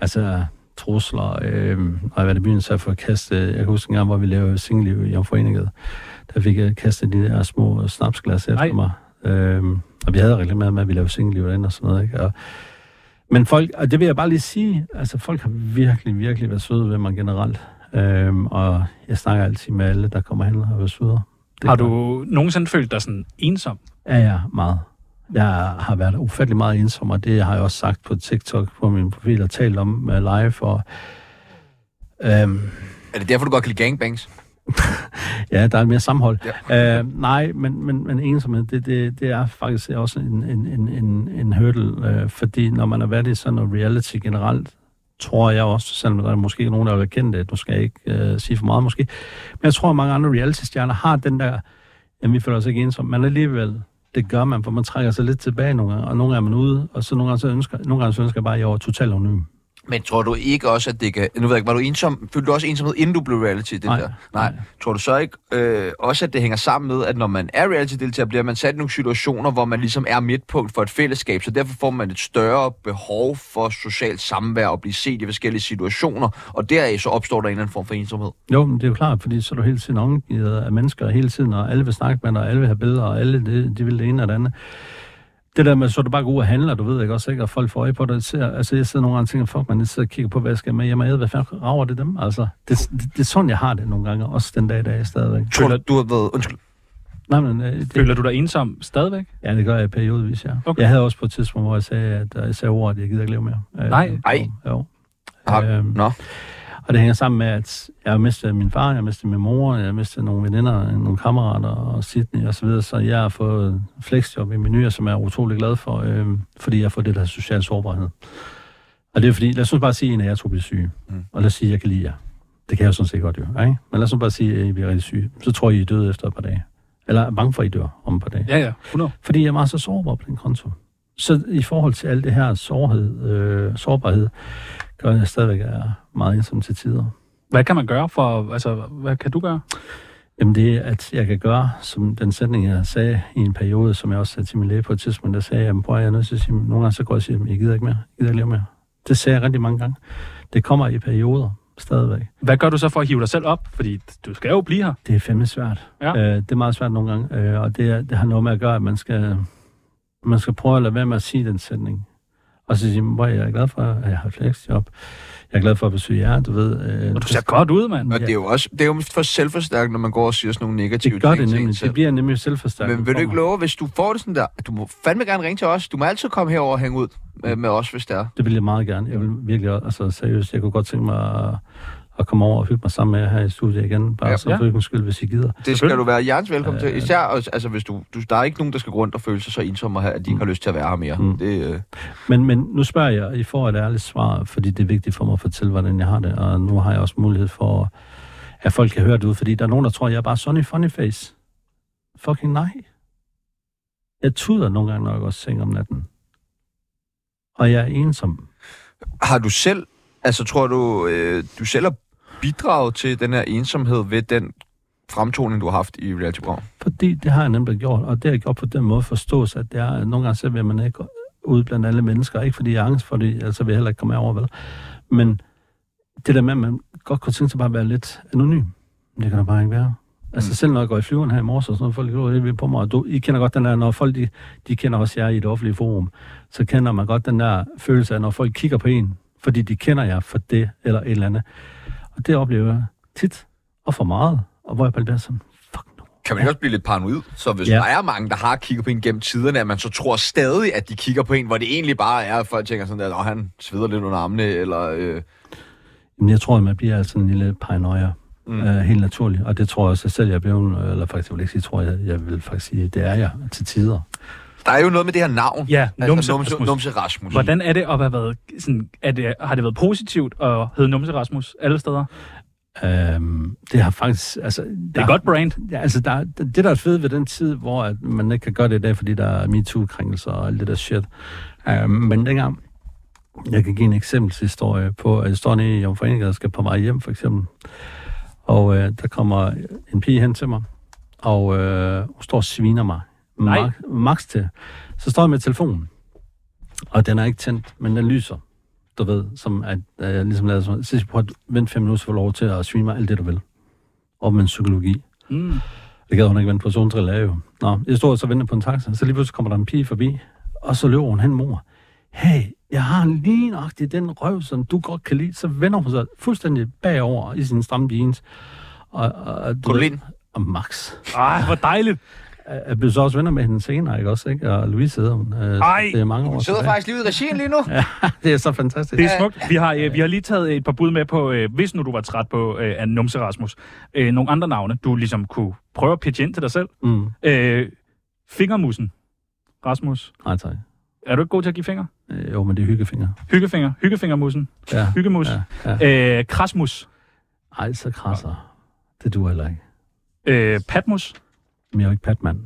Speaker 5: altså, trusler. Øh, og jeg var i byen, så jeg får kastet... Jeg kan huske en gang, hvor vi lavede single i Omforeninget. Der fik jeg kastet de der små snapsglas efter
Speaker 3: Nej.
Speaker 5: Nej. mig. Øh, og vi havde reklameret med, at vi lavede single derinde og sådan noget. Ikke? Og, men folk, og det vil jeg bare lige sige, altså folk har virkelig, virkelig været søde ved mig generelt. Øhm, og jeg snakker altid med alle, der kommer hen og har været søde. Det
Speaker 3: Har
Speaker 5: gør-
Speaker 3: du nogensinde følt dig sådan ensom?
Speaker 5: Ja, ja, meget. Jeg har været ufattelig meget ensom, og det har jeg også sagt på TikTok på min profil og talt om øh, live. Og, øhm,
Speaker 2: Er det derfor, du godt kan lide gangbangs?
Speaker 5: ja, der er mere sammenhold. Ja. Øh, nej, men, men, men ensomhed, det, det, det er faktisk også en, en, en, en, en hurdle, øh, fordi når man har været i sådan noget reality generelt, tror jeg også, selvom der er måske ikke nogen, der vil erkende det, nu skal jeg ikke øh, sige for meget måske, men jeg tror, at mange andre reality-stjerner har den der, jamen vi føler os ikke ensomme, men alligevel, det gør man, for man trækker sig lidt tilbage nogle gange, og nogle gange er man ude, og så nogle gange så ønsker, nogle gange så ønsker jeg bare, at jeg var totalt anonym.
Speaker 2: Men tror du ikke også, at det kan... Nu ved jeg ikke, var du ensom? Følte du også ensomhed, inden du blev reality? Det
Speaker 5: Nej.
Speaker 2: Der? Nej. Tror du så ikke øh, også, at det hænger sammen med, at når man er reality-deltager, bliver man sat i nogle situationer, hvor man ligesom er midtpunkt for et fællesskab, så derfor får man et større behov for socialt samvær og blive set i forskellige situationer, og deraf så opstår der en eller anden form for ensomhed.
Speaker 5: Jo, men det er jo klart, fordi så er du hele tiden omgivet af mennesker hele tiden, og alle vil snakke med dig, og alle vil have billeder, og alle det, de vil det ene og det andet. Det der med, så er du bare god og handler, du ved ikke også, ikke? og folk får øje på dig. Ser, altså, jeg sidder nogle gange og tænker, fuck, man, jeg sidder og kigger på, hvad jeg skal med hjemme og æde. Hvad fanden rager det dem? Altså, det, det, det, er sådan, jeg har det nogle gange, også den dag i dag stadigvæk.
Speaker 2: Tror du, du har været... Undskyld.
Speaker 5: Nej, men, øh, det,
Speaker 3: Føler du dig ensom stadigvæk?
Speaker 5: Ja, det gør jeg periodvis, ja. Okay. Jeg havde også på et tidspunkt, hvor jeg sagde, at øh, jeg sagde ordet, at jeg gider ikke leve mere. Øh,
Speaker 3: Nej.
Speaker 5: Nej. Jo. Øhm,
Speaker 2: Nå.
Speaker 5: Og det hænger sammen med, at jeg mistede min far, jeg mistede min mor, jeg mistede nogle veninder, nogle kammerater og Sydney og så videre, så jeg har fået flexjob i min nye, som jeg er utrolig glad for, øh, fordi jeg har fået det der social sårbarhed. Og det er fordi, lad os nu bare sige, at en af jer to bliver syge, mm. og lad os sige, at jeg kan lide jer. Det kan jeg jo sådan set godt jo, ikke? Men lad os nu bare sige, at I bliver rigtig syge. Så tror jeg, I er døde efter et par dage. Eller er bange for, at I dør om et par dage.
Speaker 3: Ja, ja. 100.
Speaker 5: Fordi jeg er meget så sårbar på den konto. Så i forhold til alt det her sårhed, øh, sårbarhed, gør jeg stadigvæk at jeg er meget ensom til tider.
Speaker 3: Hvad kan man gøre for... Altså, hvad kan du gøre?
Speaker 5: Jamen det, at jeg kan gøre, som den sætning, jeg sagde i en periode, som jeg også sagde til min læge på et tidspunkt, der sagde jeg, jamen prøv at jeg er nødt til at sige, nogle gange så går jeg og siger, "Jamen, jeg gider ikke mere, jeg gider ikke leve mere. Det sagde jeg rigtig mange gange. Det kommer i perioder stadigvæk.
Speaker 3: Hvad gør du så for at hive dig selv op? Fordi du skal jo blive her.
Speaker 5: Det er fandme svært.
Speaker 3: Ja.
Speaker 5: Øh, det er meget svært nogle gange, øh, og det, er, det har noget med at gøre, at man skal, man skal prøve at lade være med at sige den sætning. Og så sige, hvor jeg er glad for, at jeg har flexjob. Jeg er glad for at besøge jer, du ved. Øh,
Speaker 2: Og
Speaker 5: det-
Speaker 2: Og det er jo også det er jo for selvforstærkende, når man går og siger sådan nogle negative
Speaker 5: Det gør
Speaker 2: ting
Speaker 5: det
Speaker 2: til en
Speaker 5: nemlig.
Speaker 2: selv.
Speaker 5: Det bliver nemlig selvforstærket.
Speaker 2: Men vil du
Speaker 5: for
Speaker 2: ikke
Speaker 5: mig.
Speaker 2: love, hvis du får det sådan der, du må fandme gerne ringe til os. Du må altid komme herover og hænge ud med, med os, hvis det er.
Speaker 5: Det vil jeg meget gerne. Jeg vil virkelig, også- altså seriøst, jeg kunne godt tænke mig at, at komme over og hygge mig sammen med jer her i studiet igen. Bare
Speaker 2: Ja.
Speaker 5: ja. så
Speaker 2: Ja.
Speaker 5: for hyggens skyld, hvis I gider.
Speaker 2: Det skal du være hjertens velkommen til. Især, også- altså, hvis du, du, der er ikke nogen, der skal gå rundt og føle sig så ensomme, her, at de ikke har lyst til at være her mere. Mm. Det, øh,
Speaker 5: Men, men nu spørger jeg, og I får et ærligt svar, fordi det er vigtigt for mig at fortælle, hvordan jeg har det. Og nu har jeg også mulighed for, at folk kan høre det ud, fordi der er nogen, der tror, jeg er bare sunny funny face. Fucking nej. Jeg tuder nogle gange, når jeg går i seng om natten. Og jeg er ensom.
Speaker 2: har du selv, altså tror du, øh, du selv har bidraget til den her ensomhed ved den fremtoning, du har haft i reality program?
Speaker 5: Fordi det har jeg nemlig gjort, og det har jeg gjort på den måde forstås, at det er, at nogle gange så vil man ikke ud blandt alle mennesker, ikke fordi jeg er angst for det, altså vil jeg heller ikke komme over, vel? Men det der med, at man godt kunne tænke sig bare at være lidt anonym, det kan der bare ikke være. Altså selv når jeg går i flyveren her i morges og sådan noget, folk går helt vildt på mig, og du, I kender godt den der, når folk, de, de kender også jer i et offentligt forum, så kender man godt den der følelse af, når folk kigger på en, fordi de kender jer for det eller et eller andet. Og det oplever jeg tit, og for meget, og hvor jeg bare bliver sådan,
Speaker 2: Kan man ikke også blive lidt paranoid? Så hvis ja.
Speaker 5: Ja.
Speaker 2: der er mange, der har kigget på en gennem tiderne, at man så tror stadig, at de kigger på en, hvor det egentlig bare er, at folk tænker sådan, at "Nå, han sveder lidt under armene, eller... Øh,
Speaker 5: Jamen, jeg tror, at man bliver altså en lille paranoia. Mm. Øh, helt naturligt. Og det tror jeg også at selv, jeg er blevet, eller faktisk jeg vil ikke sige, tror jeg, jeg vil faktisk sige, det er jeg til tider.
Speaker 2: der er jo noget med det her navn.
Speaker 3: Ja,
Speaker 2: altså,
Speaker 3: Numse
Speaker 2: numse,
Speaker 3: Rasmus.
Speaker 2: numse Rasmus.
Speaker 3: Hvordan er det at have været... Sådan, er det, har det været positivt at hedde Numse Rasmus alle steder?
Speaker 5: Øhm, det har faktisk... Altså, det
Speaker 3: er et godt brand.
Speaker 5: Ja, altså, der, det, der er fedt ved den tid, hvor at man ikke kan gøre det i dag, fordi der er MeToo-krænkelser og alt det der shit, Øh, men dengang, jeg kan give en eksempelshistorie på, at jeg står nede i Jomfrenegade og skal på vej hjem, for eksempel. Og øh, der kommer en pige hen til mig, og øh, hun står og sviner mig.
Speaker 3: Nej.
Speaker 5: Max, max til. Så står jeg med telefonen, og den er ikke tændt, men den lyser. Du ved, som at øh, jeg ligesom lader sådan, så prøv at vente fem minutter, så får du lov til at svine mig alt det, du vil. Og med psykologi.
Speaker 3: Mm.
Speaker 5: Det gad hun ikke vente på, så hun trillede af jo. Nå, jeg stod og så ventede på en taxa, så lige pludselig kommer der en pige forbi, og så løber hun hen mor. Hey, jeg har lige nøjagtig den røv, som du godt kan lide. Så vender hun sig fuldstændig bagover i sin stramme jeans. Og, og, og, du ved, og Max.
Speaker 3: Ej, hvor dejligt.
Speaker 5: Jeg blev så også venner med hende senere, ikke også? Ikke? Og Louise hedder hun. Øh,
Speaker 2: Ej,
Speaker 5: det er mange år
Speaker 2: Hun sidder
Speaker 5: tilbage.
Speaker 2: faktisk lige ud i regien lige nu.
Speaker 5: Ja, det er så fantastisk.
Speaker 3: Det er smukt. Vi har, øh, vi har lige taget et par bud med på, øh, hvis nu du var træt på øh, af Numse Rasmus, øh, nogle andre navne, du ligesom kunne prøve at pitche ind til dig selv.
Speaker 5: Mm.
Speaker 3: Øh, fingermusen. Rasmus,
Speaker 5: Nej, tak.
Speaker 3: er du ikke god til at give fingre?
Speaker 5: Øh, Jo, men det er hyggefinger.
Speaker 3: Hyggefinger. Hyggefingermusen.
Speaker 5: Ja,
Speaker 3: Hyggemus.
Speaker 5: ja,
Speaker 3: ja. Øh, krasmus.
Speaker 5: Ej, så krasser. Det duer heller ikke.
Speaker 3: Øh, patmus.
Speaker 5: Men jeg er jo ikke patmand.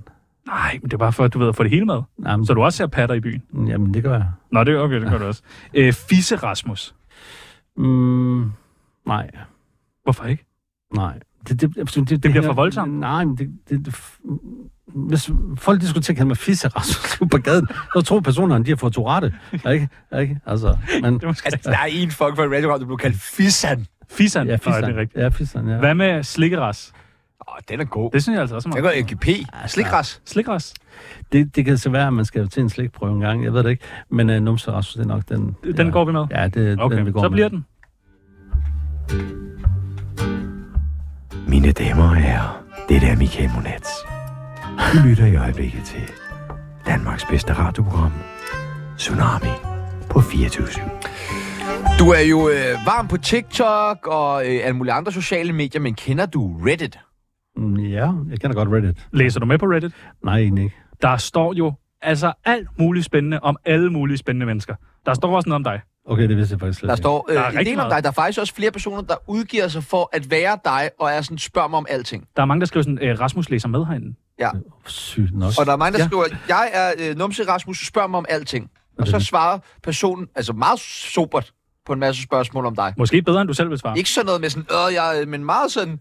Speaker 3: Nej, men det er bare for, at du ved, at få det hele med.
Speaker 5: Jamen.
Speaker 3: Så du også ser patter i byen.
Speaker 5: Jamen, det gør jeg.
Speaker 3: Nå, det er okay, det gør du også. Øh, fisse Rasmus.
Speaker 5: Mm, nej.
Speaker 3: Hvorfor ikke?
Speaker 5: Nej. Det, det, det, det, det
Speaker 3: bliver for voldsomt.
Speaker 5: Nej, men det, det, det hvis folk de skulle til at kalde mig fisse Rasmus ude på gaden, så tror personerne, de har fået Tourette. Ikke? ikke? Altså, men,
Speaker 2: Altså, der er en fuck for et radiogram, der blev kaldt Fissan.
Speaker 3: Fissan. Nej,
Speaker 5: ja,
Speaker 3: det er
Speaker 5: fisseren.
Speaker 3: rigtigt.
Speaker 5: Ja, fisseren, ja.
Speaker 3: Hvad med slikkeras?
Speaker 2: Åh, den Altså. er god.
Speaker 3: Det synes jeg altså også er
Speaker 2: Den
Speaker 3: meget.
Speaker 2: går AGP. Slikgræs.
Speaker 3: Slikras.
Speaker 5: Det, det kan så være, at man skal til en slikprøve en gang. Jeg ved det ikke. Men uh, numse Rasmus, det er nok den...
Speaker 3: Den
Speaker 5: ja.
Speaker 3: går vi med?
Speaker 5: Ja, det er
Speaker 3: Okay,
Speaker 5: den, vi går
Speaker 3: så bliver
Speaker 5: med.
Speaker 3: den.
Speaker 15: Mine damer og herrer, det er Michael Monats. Du lytter i øjeblikket til Danmarks bedste radioprogram, Tsunami på 24
Speaker 2: Du er jo øh, varm på TikTok og øh, alle mulige andre sociale medier, men kender du Reddit?
Speaker 5: Mm, Ja, jeg kender godt Reddit.
Speaker 3: Læser du med på Reddit?
Speaker 5: Nej, egentlig ikke.
Speaker 3: Der står jo altså alt muligt spændende om alle mulige spændende mennesker. Der står også noget om dig.
Speaker 5: Okay, det vidste jeg faktisk slet
Speaker 2: Der
Speaker 5: ikke.
Speaker 2: står øh,
Speaker 3: Der er
Speaker 2: en
Speaker 3: rigtig
Speaker 2: del om
Speaker 3: meget.
Speaker 2: dig. Der er faktisk også flere personer, der udgiver sig for at være dig, og er sådan, spørg mig om alting.
Speaker 3: Der er mange, der skriver sådan, "Øh, Rasmus læser med herinde.
Speaker 2: Ja.
Speaker 5: Sygt nok.
Speaker 2: Og der er mange, der
Speaker 5: ja.
Speaker 2: skriver, jeg er øh, Numse Rasmus, spørg mig om alting. Og så svarer personen, altså meget sobert, på en masse spørgsmål om dig.
Speaker 3: Måske bedre, end du selv vil svare.
Speaker 2: Ikke sådan noget med sådan, øh, jeg, er-" men meget sådan,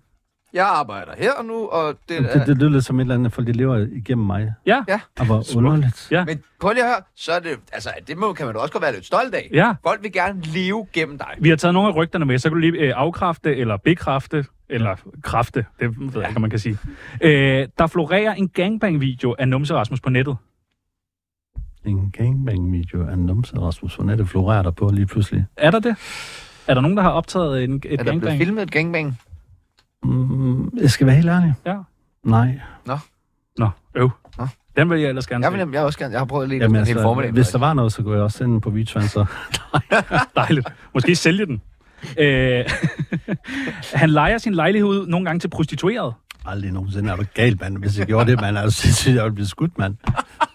Speaker 2: jeg arbejder her nu, og det,
Speaker 5: Jamen, Det, det lyder lidt som et eller andet, folk de lever igennem mig.
Speaker 3: Ja.
Speaker 2: ja.
Speaker 5: Og hvor underligt.
Speaker 3: Ja.
Speaker 2: Men prøv lige at høre, så er det, altså, det må, kan man da også godt være lidt stolt af.
Speaker 3: Ja.
Speaker 2: Folk vil gerne leve gennem dig.
Speaker 3: Vi har taget nogle af rygterne med, så kan du lige øh, afkræfte eller bekræfte, eller kræfte, det ved jeg ikke, om man kan sige. Øh, der florerer en gangbang-video af Numse Rasmus på nettet.
Speaker 5: En gangbang-video af en numse Rasmus von Nette florerer der på lige pludselig.
Speaker 3: Er der det? Er der nogen, der har optaget en, et
Speaker 2: Er der blevet
Speaker 3: gangbang?
Speaker 2: filmet et gangbang?
Speaker 5: Mm, jeg skal være helt ærlig.
Speaker 3: Ja.
Speaker 5: Nej.
Speaker 3: Nå, øv.
Speaker 2: Nå.
Speaker 3: Den vil jeg ellers gerne
Speaker 2: Jeg,
Speaker 3: se.
Speaker 2: vil, jeg, også gerne, jeg har prøvet lige Jamen, en hel formiddag.
Speaker 5: altså, hvis der var noget, så kunne jeg også sende den på WeTransfer.
Speaker 3: Dejligt. Måske sælge den. Øh, han leger sin lejlighed ud nogle gange til prostitueret.
Speaker 5: Aldrig nogensinde er du gal, mand. Hvis jeg gjorde det, mand, er du sindssygt, jeg ville blive skudt, mand.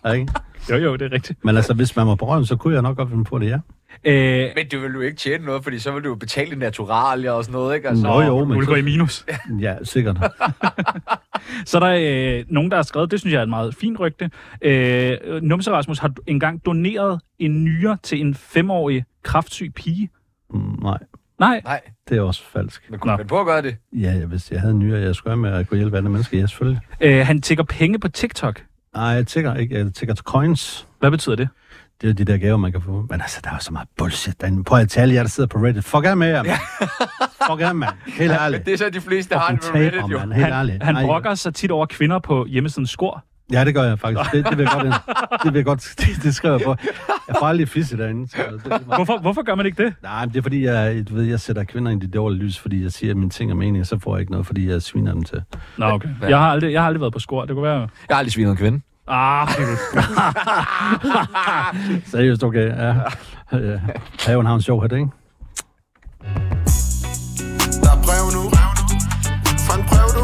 Speaker 5: Ja, ikke?
Speaker 3: Jo, jo, det er rigtigt.
Speaker 5: Men altså, hvis man var på røven, så kunne jeg nok godt finde på det, ja.
Speaker 3: Øh,
Speaker 2: Men du vil jo ikke tjene noget, fordi så vil du jo betale dine naturalier og sådan noget, ikke? Altså,
Speaker 5: Nå jo,
Speaker 3: du
Speaker 5: men...
Speaker 3: vil gå i minus.
Speaker 5: Ja, sikkert.
Speaker 3: Så er der øh, nogen, der har skrevet, det synes jeg er et meget fint rygte. Øh, Numse Rasmus har engang doneret en nyre til en femårig kraftsyg pige.
Speaker 5: Mm, Nej,
Speaker 3: Nej,
Speaker 2: Nej,
Speaker 5: det er også falsk.
Speaker 2: men kunne man på at gøre det?
Speaker 5: Ja, hvis jeg havde en nyere, jeg skulle have med at kunne hjælpe andre mennesker, ja, selvfølgelig.
Speaker 3: øh, han tigger penge på TikTok.
Speaker 5: Nej, jeg tigger ikke. Jeg tigger til coins.
Speaker 3: Hvad betyder det?
Speaker 5: Det er jo de der gaver, man kan få. Men altså, der er jo så meget bullshit derinde. Prøv at tale jer, der sidder på Reddit. Fuck af med jer, mand. Fuck af, mand. Helt
Speaker 2: Men
Speaker 5: ærligt.
Speaker 2: det er så de fleste, der har det
Speaker 5: Fucking
Speaker 2: med
Speaker 5: taber,
Speaker 2: Reddit, jo.
Speaker 5: mand. Helt
Speaker 3: Han,
Speaker 5: ærligt.
Speaker 3: han
Speaker 5: Ej.
Speaker 3: brokker sig tit over kvinder på hjemmesiden Skor.
Speaker 5: Ja, det gør jeg faktisk. Det, det vil jeg godt. Det, vil jeg godt, det, det skriver jeg på. Jeg får aldrig fisse derinde. Så det, det er meget.
Speaker 3: Hvorfor, hvorfor gør man ikke det?
Speaker 5: Nej, men det er fordi, jeg, du ved, jeg sætter kvinder ind i det dårlige lys, fordi jeg siger, at mine ting er mening, og så får jeg ikke noget, fordi jeg sviner dem til.
Speaker 3: Nå, okay. Jeg har aldrig, jeg har aldrig været på Skor. Det kunne være...
Speaker 2: Jeg har aldrig svinet en kvinde.
Speaker 3: Ah,
Speaker 5: Seriøst, okay. Ja. ja. Paven har en sjov hat, ikke?
Speaker 13: Der er brev nu Fra en brev du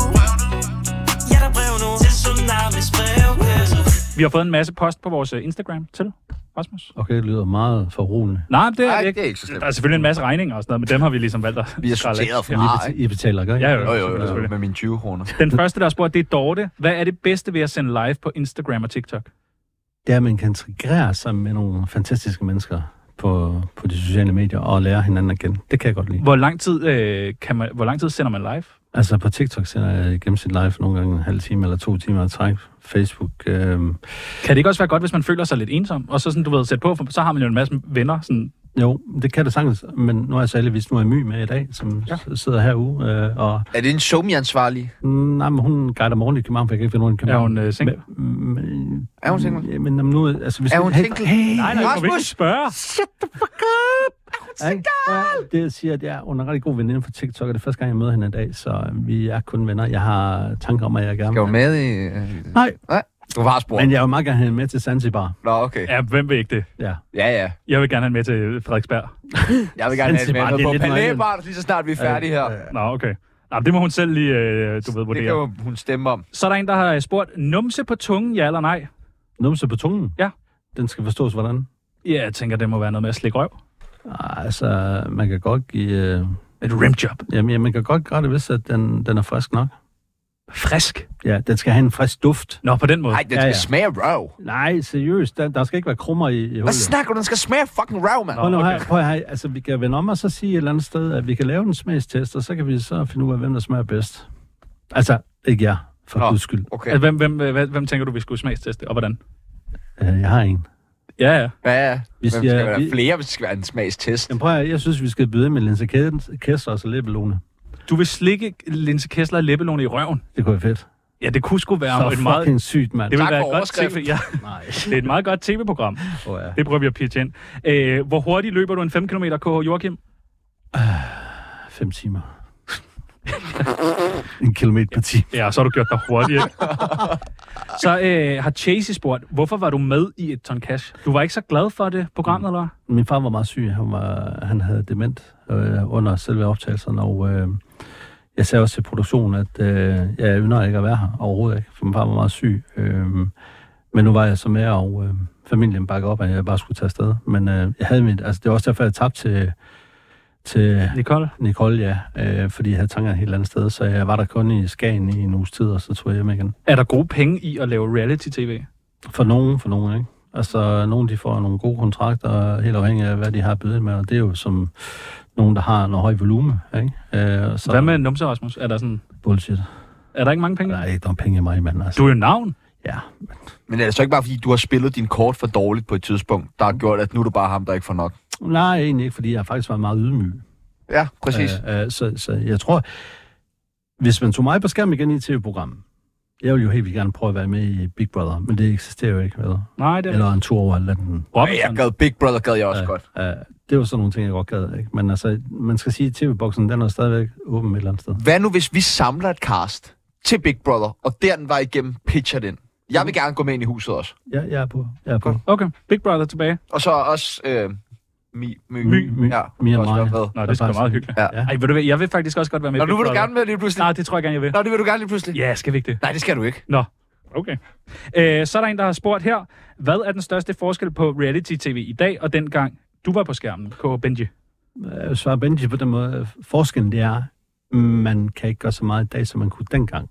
Speaker 7: Ja, der er brev nu til Tsunamis brevkasse.
Speaker 3: vi har fået en masse post på vores øh, Instagram til Rasmus.
Speaker 5: Okay, det lyder meget forroligende.
Speaker 3: Nej, altså, det er,
Speaker 2: Nej,
Speaker 3: Ej,
Speaker 2: det er ikke så slemt.
Speaker 3: Der er selvfølgelig en masse regninger og sådan noget, men dem har vi ligesom valgt at
Speaker 2: Vi er
Speaker 3: skrælle af.
Speaker 2: sorteret fra,
Speaker 5: I,
Speaker 2: ikke?
Speaker 5: bet- I betaler, ikke?
Speaker 3: Ja, jo,
Speaker 2: Jo,
Speaker 3: jo.
Speaker 2: jo, jo,
Speaker 3: selvfølgelig.
Speaker 2: med mine 20 kroner.
Speaker 3: Den første, der har spurgt, det er Dorte. Hvad er det bedste ved at sende live på Instagram og TikTok?
Speaker 5: det er, at man kan integrere sig med nogle fantastiske mennesker på, på de sociale medier og lære hinanden at kende. Det kan jeg godt lide.
Speaker 3: Hvor lang tid, øh, kan man, hvor lang tid sender man live?
Speaker 5: Altså på TikTok sender jeg gennemsnit live nogle gange en halv time eller to timer i træk. Facebook. Øh...
Speaker 3: Kan det ikke også være godt, hvis man føler sig lidt ensom, og så sådan, du ved, sætte på, for så har man jo en masse venner, sådan
Speaker 5: Jo, det kan det sagtens, men nu er jeg så heldigvis nu er My med i dag, som ja. sidder herude. Øh, og...
Speaker 12: Er det en somi-ansvarlig?
Speaker 5: Mm, nej, men hun guider morgen i København, for jeg kan ikke finde nogen i København.
Speaker 3: hun, øh, single?
Speaker 5: Men,
Speaker 12: er hun single?
Speaker 5: Men, men nu, altså, hvis
Speaker 12: Er
Speaker 5: vi-
Speaker 12: hun
Speaker 5: hey,
Speaker 12: single?
Speaker 5: Hey,
Speaker 12: Nej, nej,
Speaker 5: hey,
Speaker 12: du må ikke Rasmus!
Speaker 3: spørge.
Speaker 5: Shut the fuck up! Er hun single? Det, jeg siger, det er, hun er en rigtig god veninde fra TikTok, og det er første gang, jeg møder hende i dag, så øh, vi er kun venner. Jeg har tanker om, at jeg gerne
Speaker 12: Skal hun med i... øh,
Speaker 5: Nej.
Speaker 12: Nej. Du har spurgt.
Speaker 5: Men jeg vil meget gerne have hende med til Zanzibar.
Speaker 12: Nå, okay.
Speaker 3: Ja, hvem vil ikke det?
Speaker 5: Ja.
Speaker 12: Ja, ja.
Speaker 3: Jeg vil gerne have den med til Frederiksberg.
Speaker 12: Jeg vil gerne have
Speaker 5: Zanzibar,
Speaker 12: det med
Speaker 5: det er
Speaker 12: på
Speaker 5: lidt
Speaker 12: Palæbart, lige så snart vi er færdige her.
Speaker 5: Øh,
Speaker 3: Nå, okay. Nå, det må hun selv lige, øh, du ved,
Speaker 12: Det
Speaker 3: vurdere.
Speaker 12: kan jo hun stemme om.
Speaker 3: Så er der en, der har spurgt, numse på tungen, ja eller nej?
Speaker 5: Numse på tungen?
Speaker 3: Ja.
Speaker 5: Den skal forstås, hvordan?
Speaker 3: Ja, jeg tænker, det må være noget med at slikke røv.
Speaker 5: Ah, Altså, man kan godt give... Øh...
Speaker 3: Et rimjob.
Speaker 5: Jamen, ja, man kan godt gøre det, hvis at den, den er frisk nok.
Speaker 3: Frisk?
Speaker 5: Ja, den skal have en frisk duft.
Speaker 3: Nå, på den måde.
Speaker 12: Nej, den skal smage røv.
Speaker 5: Nej, seriøst. Der, der skal ikke være krummer i, i hullet.
Speaker 12: Hvad snakker du? Den skal smage fucking røv, mand.
Speaker 5: Prøv nu her, prøv her. Altså, vi kan vende om og så sige et eller andet sted, at vi kan lave en smagstest, og så kan vi så finde ud af, hvem der smager bedst. Altså, ikke jeg, for Nå, guds skyld.
Speaker 12: Okay.
Speaker 3: Altså, hvem, hvem, hvem, hvem tænker du, vi skulle smagsteste, og hvordan?
Speaker 5: Øh, Jeg har en.
Speaker 3: Ja, ja.
Speaker 12: Ja, ja.
Speaker 5: Vi
Speaker 12: Vi
Speaker 5: siger-
Speaker 12: skal, skal være
Speaker 5: vi-
Speaker 12: flere, hvis det skal være en smagstest.
Speaker 5: Jamen, prøv her, jeg synes, vi skal byde ind med Linse Kessler og så Lebbelone.
Speaker 3: Du vil slikke Linse Kessler og Leppelone i røven?
Speaker 5: Det kunne være fedt.
Speaker 3: Ja, det kunne sgu være
Speaker 5: Så
Speaker 3: et
Speaker 5: fucking
Speaker 3: meget...
Speaker 5: sygt, mand.
Speaker 3: Det vil
Speaker 5: Tak
Speaker 3: være
Speaker 5: for
Speaker 3: et godt
Speaker 5: overskriften.
Speaker 3: TV. Ja. Det er et meget godt tv-program.
Speaker 5: Oh, ja.
Speaker 3: Det prøver vi at pitche ind. Øh, hvor hurtigt løber du en 5 km KH, Joachim?
Speaker 5: 5 timer. en kilometer per time.
Speaker 3: Ja, så har du gjort dig hurtigt. så øh, har Chase spurgt, hvorfor var du med i et ton cash? Du var ikke så glad for det program, eller hvad?
Speaker 5: Min far var meget syg. Han, var, han havde dement øh, under selve optagelserne, og øh, jeg sagde også til produktionen, at øh, jeg ynder ikke at være her overhovedet ikke, for min far var meget syg. Øh, men nu var jeg så med, og øh, familien bakkede op, at jeg bare skulle tage afsted. Men øh, jeg havde mit, altså, det var også derfor, jeg tabte til, til
Speaker 3: Nicole?
Speaker 5: Nicole, ja, øh, fordi jeg havde tanker et helt andet sted, så jeg var der kun i Skagen i en uges tid, og så tog jeg hjem igen.
Speaker 3: Er der gode penge i at lave reality-tv?
Speaker 5: For nogen, for nogen, ikke? Altså, nogen de får nogle gode kontrakter, helt afhængig af, hvad de har at byde ind med, og det er jo som nogen, der har noget høj volume, ikke? Øh, så
Speaker 3: Hvad med numse, Rasmus? Er der, sådan,
Speaker 5: Bullshit.
Speaker 3: er der ikke mange penge?
Speaker 5: Der er ikke nogen penge i mig, mand, altså.
Speaker 3: Du er jo navn.
Speaker 5: Ja.
Speaker 12: Men er det så ikke bare, fordi du har spillet din kort for dårligt på et tidspunkt, der har gjort, at nu er du bare ham, der ikke får nok?
Speaker 5: Nej, egentlig ikke, fordi jeg har faktisk været meget ydmyg.
Speaker 12: Ja, præcis.
Speaker 5: Øh, øh, så, så jeg tror, hvis man tog mig på skærm igen i tv-programmet, jeg ville jo helt vildt gerne prøve at være med i Big Brother, men det eksisterer jo ikke, vel?
Speaker 3: Nej, det er
Speaker 5: Eller en tur over Atlanten.
Speaker 12: Ja, jeg gad Big Brother, gad jeg også
Speaker 5: Ja.
Speaker 12: godt.
Speaker 5: Øh, det var sådan nogle ting, jeg godt gad, ikke? Men altså, man skal sige, at tv-boksen, den er stadigvæk åben et eller andet sted.
Speaker 12: Hvad nu, hvis vi samler et cast til Big Brother, og der den var igennem, pitcher den? Jeg vil gerne gå med ind i huset også.
Speaker 5: Ja, jeg er på. Jeg er på.
Speaker 3: Okay, Big Brother tilbage.
Speaker 12: Og så også... Øh, mi, my,
Speaker 5: My- My-
Speaker 12: ja,
Speaker 5: Mia
Speaker 12: også
Speaker 5: Maja.
Speaker 12: være med.
Speaker 5: Nå,
Speaker 3: det er sgu da meget hyggeligt.
Speaker 12: Ja.
Speaker 3: Ej, ved du hvad, jeg vil faktisk også godt være med. i
Speaker 12: Nå, nu
Speaker 3: Big
Speaker 12: vil du
Speaker 3: Brother.
Speaker 12: gerne med lige pludselig.
Speaker 3: Nej, det tror jeg gerne, jeg vil.
Speaker 12: Nå, det vil du gerne lige pludselig.
Speaker 3: Ja, skal vi ikke det?
Speaker 12: Nej, det skal du ikke.
Speaker 3: Nå, okay. Øh, så er der en, der har spurgt her, hvad er den største forskel på reality-tv i dag og dengang du var på skærmen, K. Benji?
Speaker 5: Øh, svarer Benji på den måde. øh, Forskellen det er, man kan ikke gøre så meget i dag, som man kunne dengang.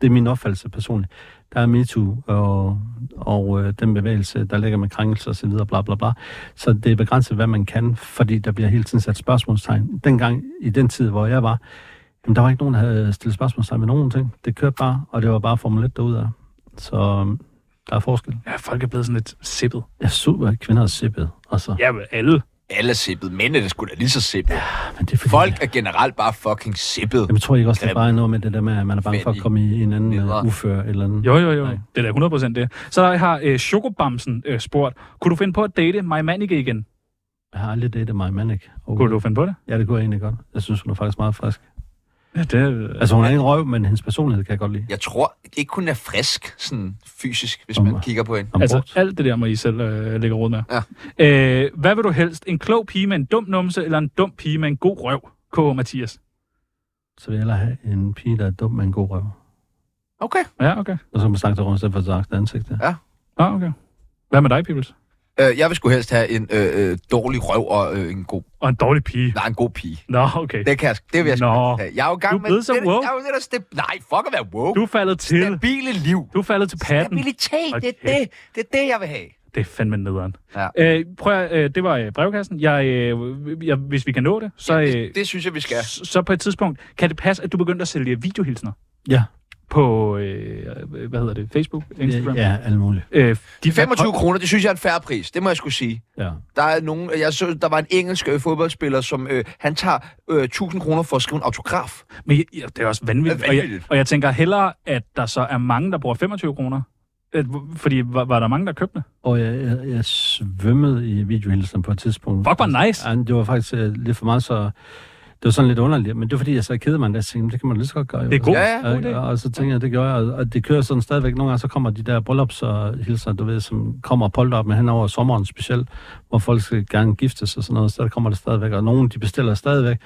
Speaker 5: Det er min opfattelse personligt. Der er MeToo og, og øh, den bevægelse, der ligger med krænkelser osv. Bla, bla, bla. Så det er begrænset, hvad man kan, fordi der bliver hele tiden sat spørgsmålstegn. Dengang, i den tid, hvor jeg var, jamen, der var ikke nogen, der havde stillet spørgsmålstegn med nogen ting. Det kørte bare, og det var bare Formel 1 derudad. Så øh, der er forskel.
Speaker 3: Ja, folk er blevet sådan lidt sippet.
Speaker 5: Jeg er super kvinder er sippet. Altså.
Speaker 3: Ja, vel, alle.
Speaker 12: Alle er sippet. Mænd er det sgu da lige så sippet. Ja,
Speaker 5: men det er fordi...
Speaker 12: Folk er generelt bare fucking sippet.
Speaker 5: Jamen, tror I ikke også, det er bare noget med det der med, at man er bange for at komme i en anden
Speaker 12: Nederen.
Speaker 5: uh, ufør eller andet?
Speaker 3: Jo, jo, jo. Det er da 100% det. Så har øh, Chokobamsen øh, spurgt, kunne du finde på at date mig Manike igen?
Speaker 5: Jeg har aldrig datet mig, Manic. Okay.
Speaker 3: Kunne du finde på det?
Speaker 5: Ja, det kunne jeg egentlig godt. Jeg synes, hun er faktisk meget frisk.
Speaker 3: Ja, det er... øh,
Speaker 5: Altså, hun er ikke en røv, men hendes personlighed kan jeg godt lide.
Speaker 12: Jeg tror ikke, hun er frisk sådan fysisk, hvis man kigger på hende.
Speaker 3: Altså, alt det der må I selv øh, lægge råd med. Ja. Øh, hvad vil du helst? En klog pige med en dum numse, eller en dum pige med en god røv? K. Mathias.
Speaker 5: Så vil jeg hellere have en pige, der er dum, men en god røv.
Speaker 12: Okay.
Speaker 3: Ja, okay.
Speaker 5: Og så kan man snakke til rundt, i stedet for at snakke til ansigtet.
Speaker 12: Ja.
Speaker 3: Ah, okay. Hvad med dig, Pibels?
Speaker 2: Øh, jeg vil sgu helst have en øh, øh, dårlig røv og øh, en god...
Speaker 3: Og en dårlig pige.
Speaker 2: Nej, en god pige.
Speaker 3: Nå, okay.
Speaker 2: Det, kan jeg, det vil jeg sgu
Speaker 3: Nå.
Speaker 2: helst have. Jeg er jo i gang
Speaker 3: Du er
Speaker 2: med...
Speaker 3: blevet så
Speaker 2: det,
Speaker 3: woke.
Speaker 2: Jeg er jo det der step... Nej, fuck at være woke.
Speaker 3: Du er faldet til.
Speaker 2: Stabile liv.
Speaker 3: Du er faldet til patten.
Speaker 2: Stabilitet,
Speaker 3: Hold
Speaker 2: det er
Speaker 3: kæft.
Speaker 2: det. Det er det, jeg vil have.
Speaker 3: Det er fandme nederen.
Speaker 2: Ja.
Speaker 3: Øh, prøv at, øh, det var øh, brevkassen. Jeg, øh, jeg, hvis vi kan nå det, så, øh,
Speaker 2: Det, det synes jeg, vi skal.
Speaker 3: s- så på et tidspunkt, kan det passe, at du begyndte at sælge videohilsner
Speaker 5: Ja.
Speaker 3: på, øh, hvad hedder det, Facebook, Instagram?
Speaker 5: Ja, alt muligt.
Speaker 3: Øh,
Speaker 2: De 25 kroner, det synes jeg er en færre pris. Det må jeg skulle sige.
Speaker 5: Ja.
Speaker 2: Der er nogen, jeg så, der var en engelsk øh, fodboldspiller, som øh, han tager øh, 1000 kroner for at skrive en autograf.
Speaker 3: Men jeg- jeg- det er også vanvittigt.
Speaker 2: Det er
Speaker 3: Og, jeg,
Speaker 2: vanvittigt.
Speaker 3: og jeg tænker hellere, at der så er mange, der bruger 25 kroner. Øh, hvor- Fordi var, var der mange, der købte det?
Speaker 5: Og jeg, jeg, jeg svømmede i videohilsen på et tidspunkt.
Speaker 3: Fuck, hvor nice.
Speaker 5: Ja, det var faktisk øh, lidt for meget, så det var sådan lidt underligt. Men det var fordi, jeg så kede mig, og jeg tænkte, "Men det kan man lige så godt gøre. jo." Altså,
Speaker 3: Det er god-
Speaker 5: Ja,
Speaker 3: ja, god idé.
Speaker 5: og, og, så tænkte jeg, det gør jeg. Og, og det kører sådan stadigvæk. Nogle gange så kommer de der bryllups og hilser, du ved, som kommer og polter op med hen over sommeren specielt, hvor folk skal gerne giftes og sådan noget. Så der kommer det stadigvæk. Og nogen, de bestiller stadigvæk,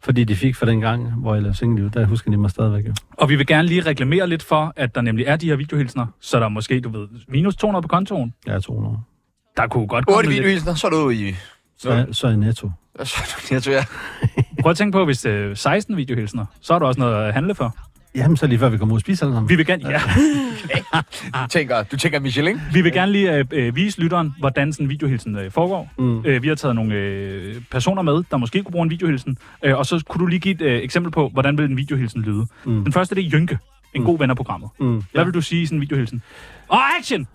Speaker 5: fordi de fik fra den gang, hvor jeg lavede single der husker de mig stadigvæk. Jo.
Speaker 3: Og vi vil gerne lige reklamere lidt for, at der nemlig er de her videohilsner, så der er måske, du ved, minus 200 på kontoen.
Speaker 5: Ja, 200.
Speaker 3: Der kunne godt komme
Speaker 2: 8
Speaker 3: lidt-
Speaker 2: videohilsner, så er du ude i...
Speaker 5: Så, er- så er jeg netto.
Speaker 2: Så er du, jeg tror, jeg.
Speaker 3: Prøv at tænke på, hvis øh, 16 videohilsner, så er der også noget at handle for.
Speaker 5: Jamen, så lige før vi kommer ud og spiser alle sammen.
Speaker 3: Vi vil gerne, ja.
Speaker 2: Du
Speaker 3: Ah.
Speaker 2: tænker, du tænker Michelin?
Speaker 3: Vi vil gerne lige øh, øh, vise lytteren, hvordan sådan en videohilsen øh, foregår.
Speaker 5: Mm.
Speaker 3: Mm. Øh, vi har taget nogle øh, personer med, der måske kunne bruge en videohilsen. Øh, og så kunne du lige give et øh, eksempel på, hvordan vil en videohilsen lyde.
Speaker 5: Mm.
Speaker 3: Mm. Den første, det er Jynke, en mm. god ven af programmet.
Speaker 5: Mm,
Speaker 3: Hvad vil du sige i sådan en videohilsen? Og action!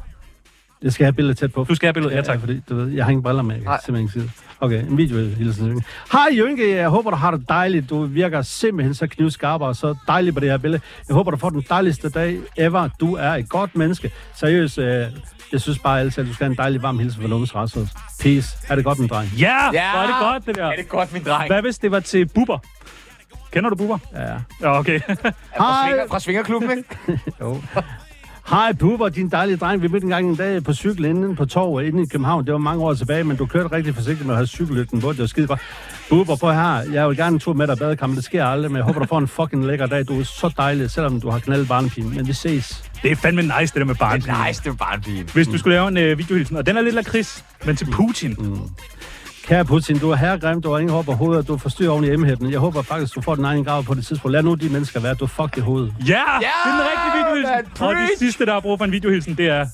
Speaker 5: Jeg skal have billedet tæt på.
Speaker 3: Du skal have billedet, ja, tak.
Speaker 5: fordi, du ved, jeg har ingen briller med, jeg kan simpelthen ikke se det. Okay, en video hilsen. Jynke. Hej Jynke, jeg håber, du har det dejligt. Du virker simpelthen så knivskarp og så dejlig på det her billede. Jeg håber, du får den dejligste dag ever. Du er et godt menneske. Seriøst, øh, jeg synes bare altid, at du skal have en dejlig varm hilsen fra Lunges Rasmus. Peace. Er det godt, min dreng?
Speaker 3: Ja, ja, hvor er det godt, det der. Er det
Speaker 2: godt, min dreng.
Speaker 3: Hvad hvis det var til Bubber? Kender du Bubber?
Speaker 5: Ja.
Speaker 3: Ja, okay.
Speaker 5: Hej.
Speaker 2: Svinger, fra Svingerklubben, ikke?
Speaker 5: Jo. Hej Bubber, din dejlige dreng. Vi mødte en gang en dag på cykel inden på torvet inde i København. Det var mange år tilbage, men du kørte rigtig forsigtigt med at have cykellygten på. Det var skide godt. Bubber, prøv her. Jeg vil gerne en tur med dig i badekampen. Det sker aldrig, men jeg håber, du får en fucking lækker dag. Du er så dejlig, selvom du har knaldet barnepin. Men vi ses.
Speaker 3: Det er fandme nice, det der med barn.
Speaker 2: Nice, det er bare en pige.
Speaker 3: Hvis du skulle lave en øh, videohilsen, og den er lidt lakrids, men til Putin. Mm.
Speaker 5: Kære Putin, du er herregrim, du har ingen hår på hovedet, og du forstyrrer oven i emhætten. Jeg håber faktisk, du får din egen grav på det tidspunkt. Lad nu de mennesker være, du er fuck i hovedet.
Speaker 3: Ja, yeah, det er den rigtige
Speaker 2: man,
Speaker 3: videohilsen. Og
Speaker 2: preach!
Speaker 3: det sidste, der er brug for en videohilsen, det er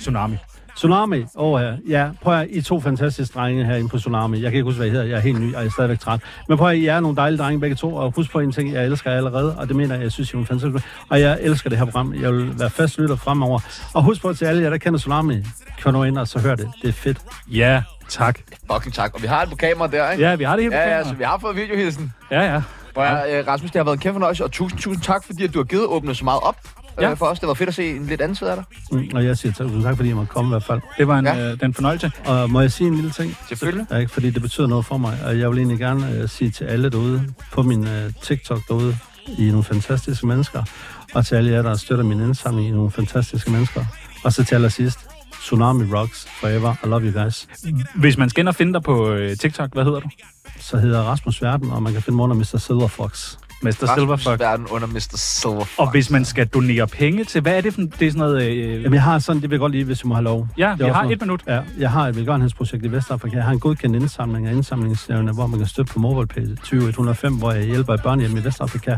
Speaker 3: Tsunami.
Speaker 5: Tsunami, åh ja. ja. Prøv at høre, I er to fantastiske drenge herinde på Tsunami. Jeg kan ikke huske, hvad I hedder. Jeg er helt ny, og jeg er stadigvæk træt. Men prøv at høre, I er nogle dejlige drenge begge to, og husk på en ting, jeg elsker jer allerede, og det mener jeg, jeg synes, I er nogle fantastiske. Og jeg elsker det her program. Jeg vil være fast lytter fremover. Og husk på til alle jer, der kender Tsunami, kør nu ind og så hør det. Det er fedt.
Speaker 3: Ja, tak.
Speaker 2: Fucking tak. Og vi har det på kamera der, ikke?
Speaker 3: Ja, vi har det hele på
Speaker 2: Ja, ja,
Speaker 3: kamera.
Speaker 2: så vi har fået videohilsen.
Speaker 3: Ja, ja.
Speaker 2: Og jeg, øh, Rasmus, det har været en kæmpe fornøjelse, og tusind, tusind tak, fordi at du har givet åbne så meget op ja.
Speaker 3: Ja.
Speaker 2: øh, for os. Det var fedt at se en lidt anden side af dig.
Speaker 5: Mm, og jeg siger tak, tak fordi I måtte komme i hvert fald.
Speaker 3: Det var en,
Speaker 2: Ja.
Speaker 3: ja. øh, den fornøjelse.
Speaker 5: Og må jeg sige en lille ting?
Speaker 2: Selvfølgelig.
Speaker 5: Ja, ikke? fordi det betyder noget for mig, og jeg vil egentlig gerne øh, sige til alle derude, på min øh, TikTok derude, I er nogle fantastiske mennesker, og til alle jer, der støtter min indsamling, I er nogle fantastiske mennesker. Og så til allersidst, Tsunami Rocks Forever, I love you guys.
Speaker 3: Hvis man skal ind og finde dig på øh, TikTok, hvad hedder du?
Speaker 5: Så hedder jeg Rasmus Verden, og man kan finde mig under Mr. Silver Fox.
Speaker 3: Mester Silverfuck.
Speaker 2: verden under Mr. Silverfuck.
Speaker 3: Og hvis man skal donere penge til, hvad er det for det er sådan noget... Øh,
Speaker 5: Jamen, jeg har sådan, det vil jeg godt lide, hvis du må have lov.
Speaker 3: Ja,
Speaker 5: Det er
Speaker 3: vi
Speaker 5: også
Speaker 3: har
Speaker 5: noget-
Speaker 3: et minut.
Speaker 5: Ja, jeg har et velgørenhedsprojekt i Vestafrika. Jeg har en godkendt indsamling af indsamlingsnævne, hvor man kan støtte på MobilePay 20105, hvor jeg hjælper et børnehjem i Vestafrika,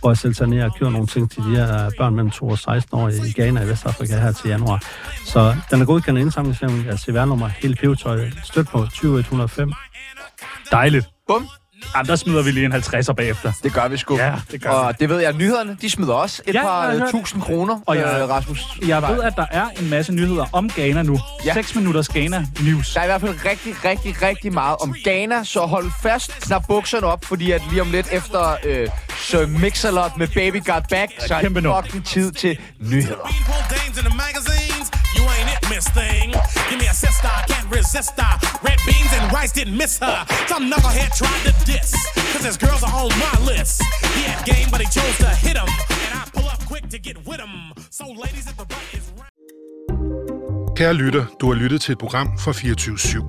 Speaker 5: hvor jeg selv tager ned og kører nogle ting til de her børn mellem 2 og 16 år i Ghana i Vestafrika her til januar. Så den er godkendt af indsamlingsnævne, altså CVR-nummer, hele pivetøjet, støt på 20105.
Speaker 3: Dejligt.
Speaker 2: Bum.
Speaker 3: Jamen, der smider vi lige en 50'er bagefter.
Speaker 2: Det gør vi sgu.
Speaker 3: Ja, det gør
Speaker 2: og det ved jeg, at nyhederne, de smider også et
Speaker 3: Ja,
Speaker 2: ja,
Speaker 3: jeg
Speaker 2: par
Speaker 3: har
Speaker 2: øh,
Speaker 3: hørt.
Speaker 2: tusind kroner,
Speaker 3: Og
Speaker 2: og
Speaker 3: jeg-
Speaker 2: jeg, øh, Rasmus.
Speaker 3: Jeg ved, at der er en masse nyheder om Ghana nu.
Speaker 2: Ja.
Speaker 3: 6 minutters Ghana News.
Speaker 2: Der er i hvert fald rigtig, rigtig, rigtig meget om Ghana, så hold fast, knap bukserne op, fordi at lige om lidt efter øh, Sir Mix-a-Lot med Baby Got Back, så er
Speaker 3: kæmpe
Speaker 2: det
Speaker 3: nummer.
Speaker 2: fucking tid til nyheder.
Speaker 16: Pull dames in the magazines. You ain't it, Miss Thing. Give me a sister, I can't resist her. Red beans and rice didn't miss her. Some knucklehead tried to diss. Cause his girls are on my list. He had game, but he chose to hit him. And I pull up quick to get with him. So, ladies, if the butt is
Speaker 17: Kære lytter, du har lyttet til et program fra 24 /7.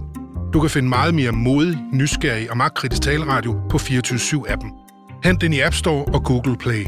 Speaker 17: Du kan finde meget mere modig, nysgerrig og magtkritisk taleradio på 24 7 appen Hent den i App Store og Google Play.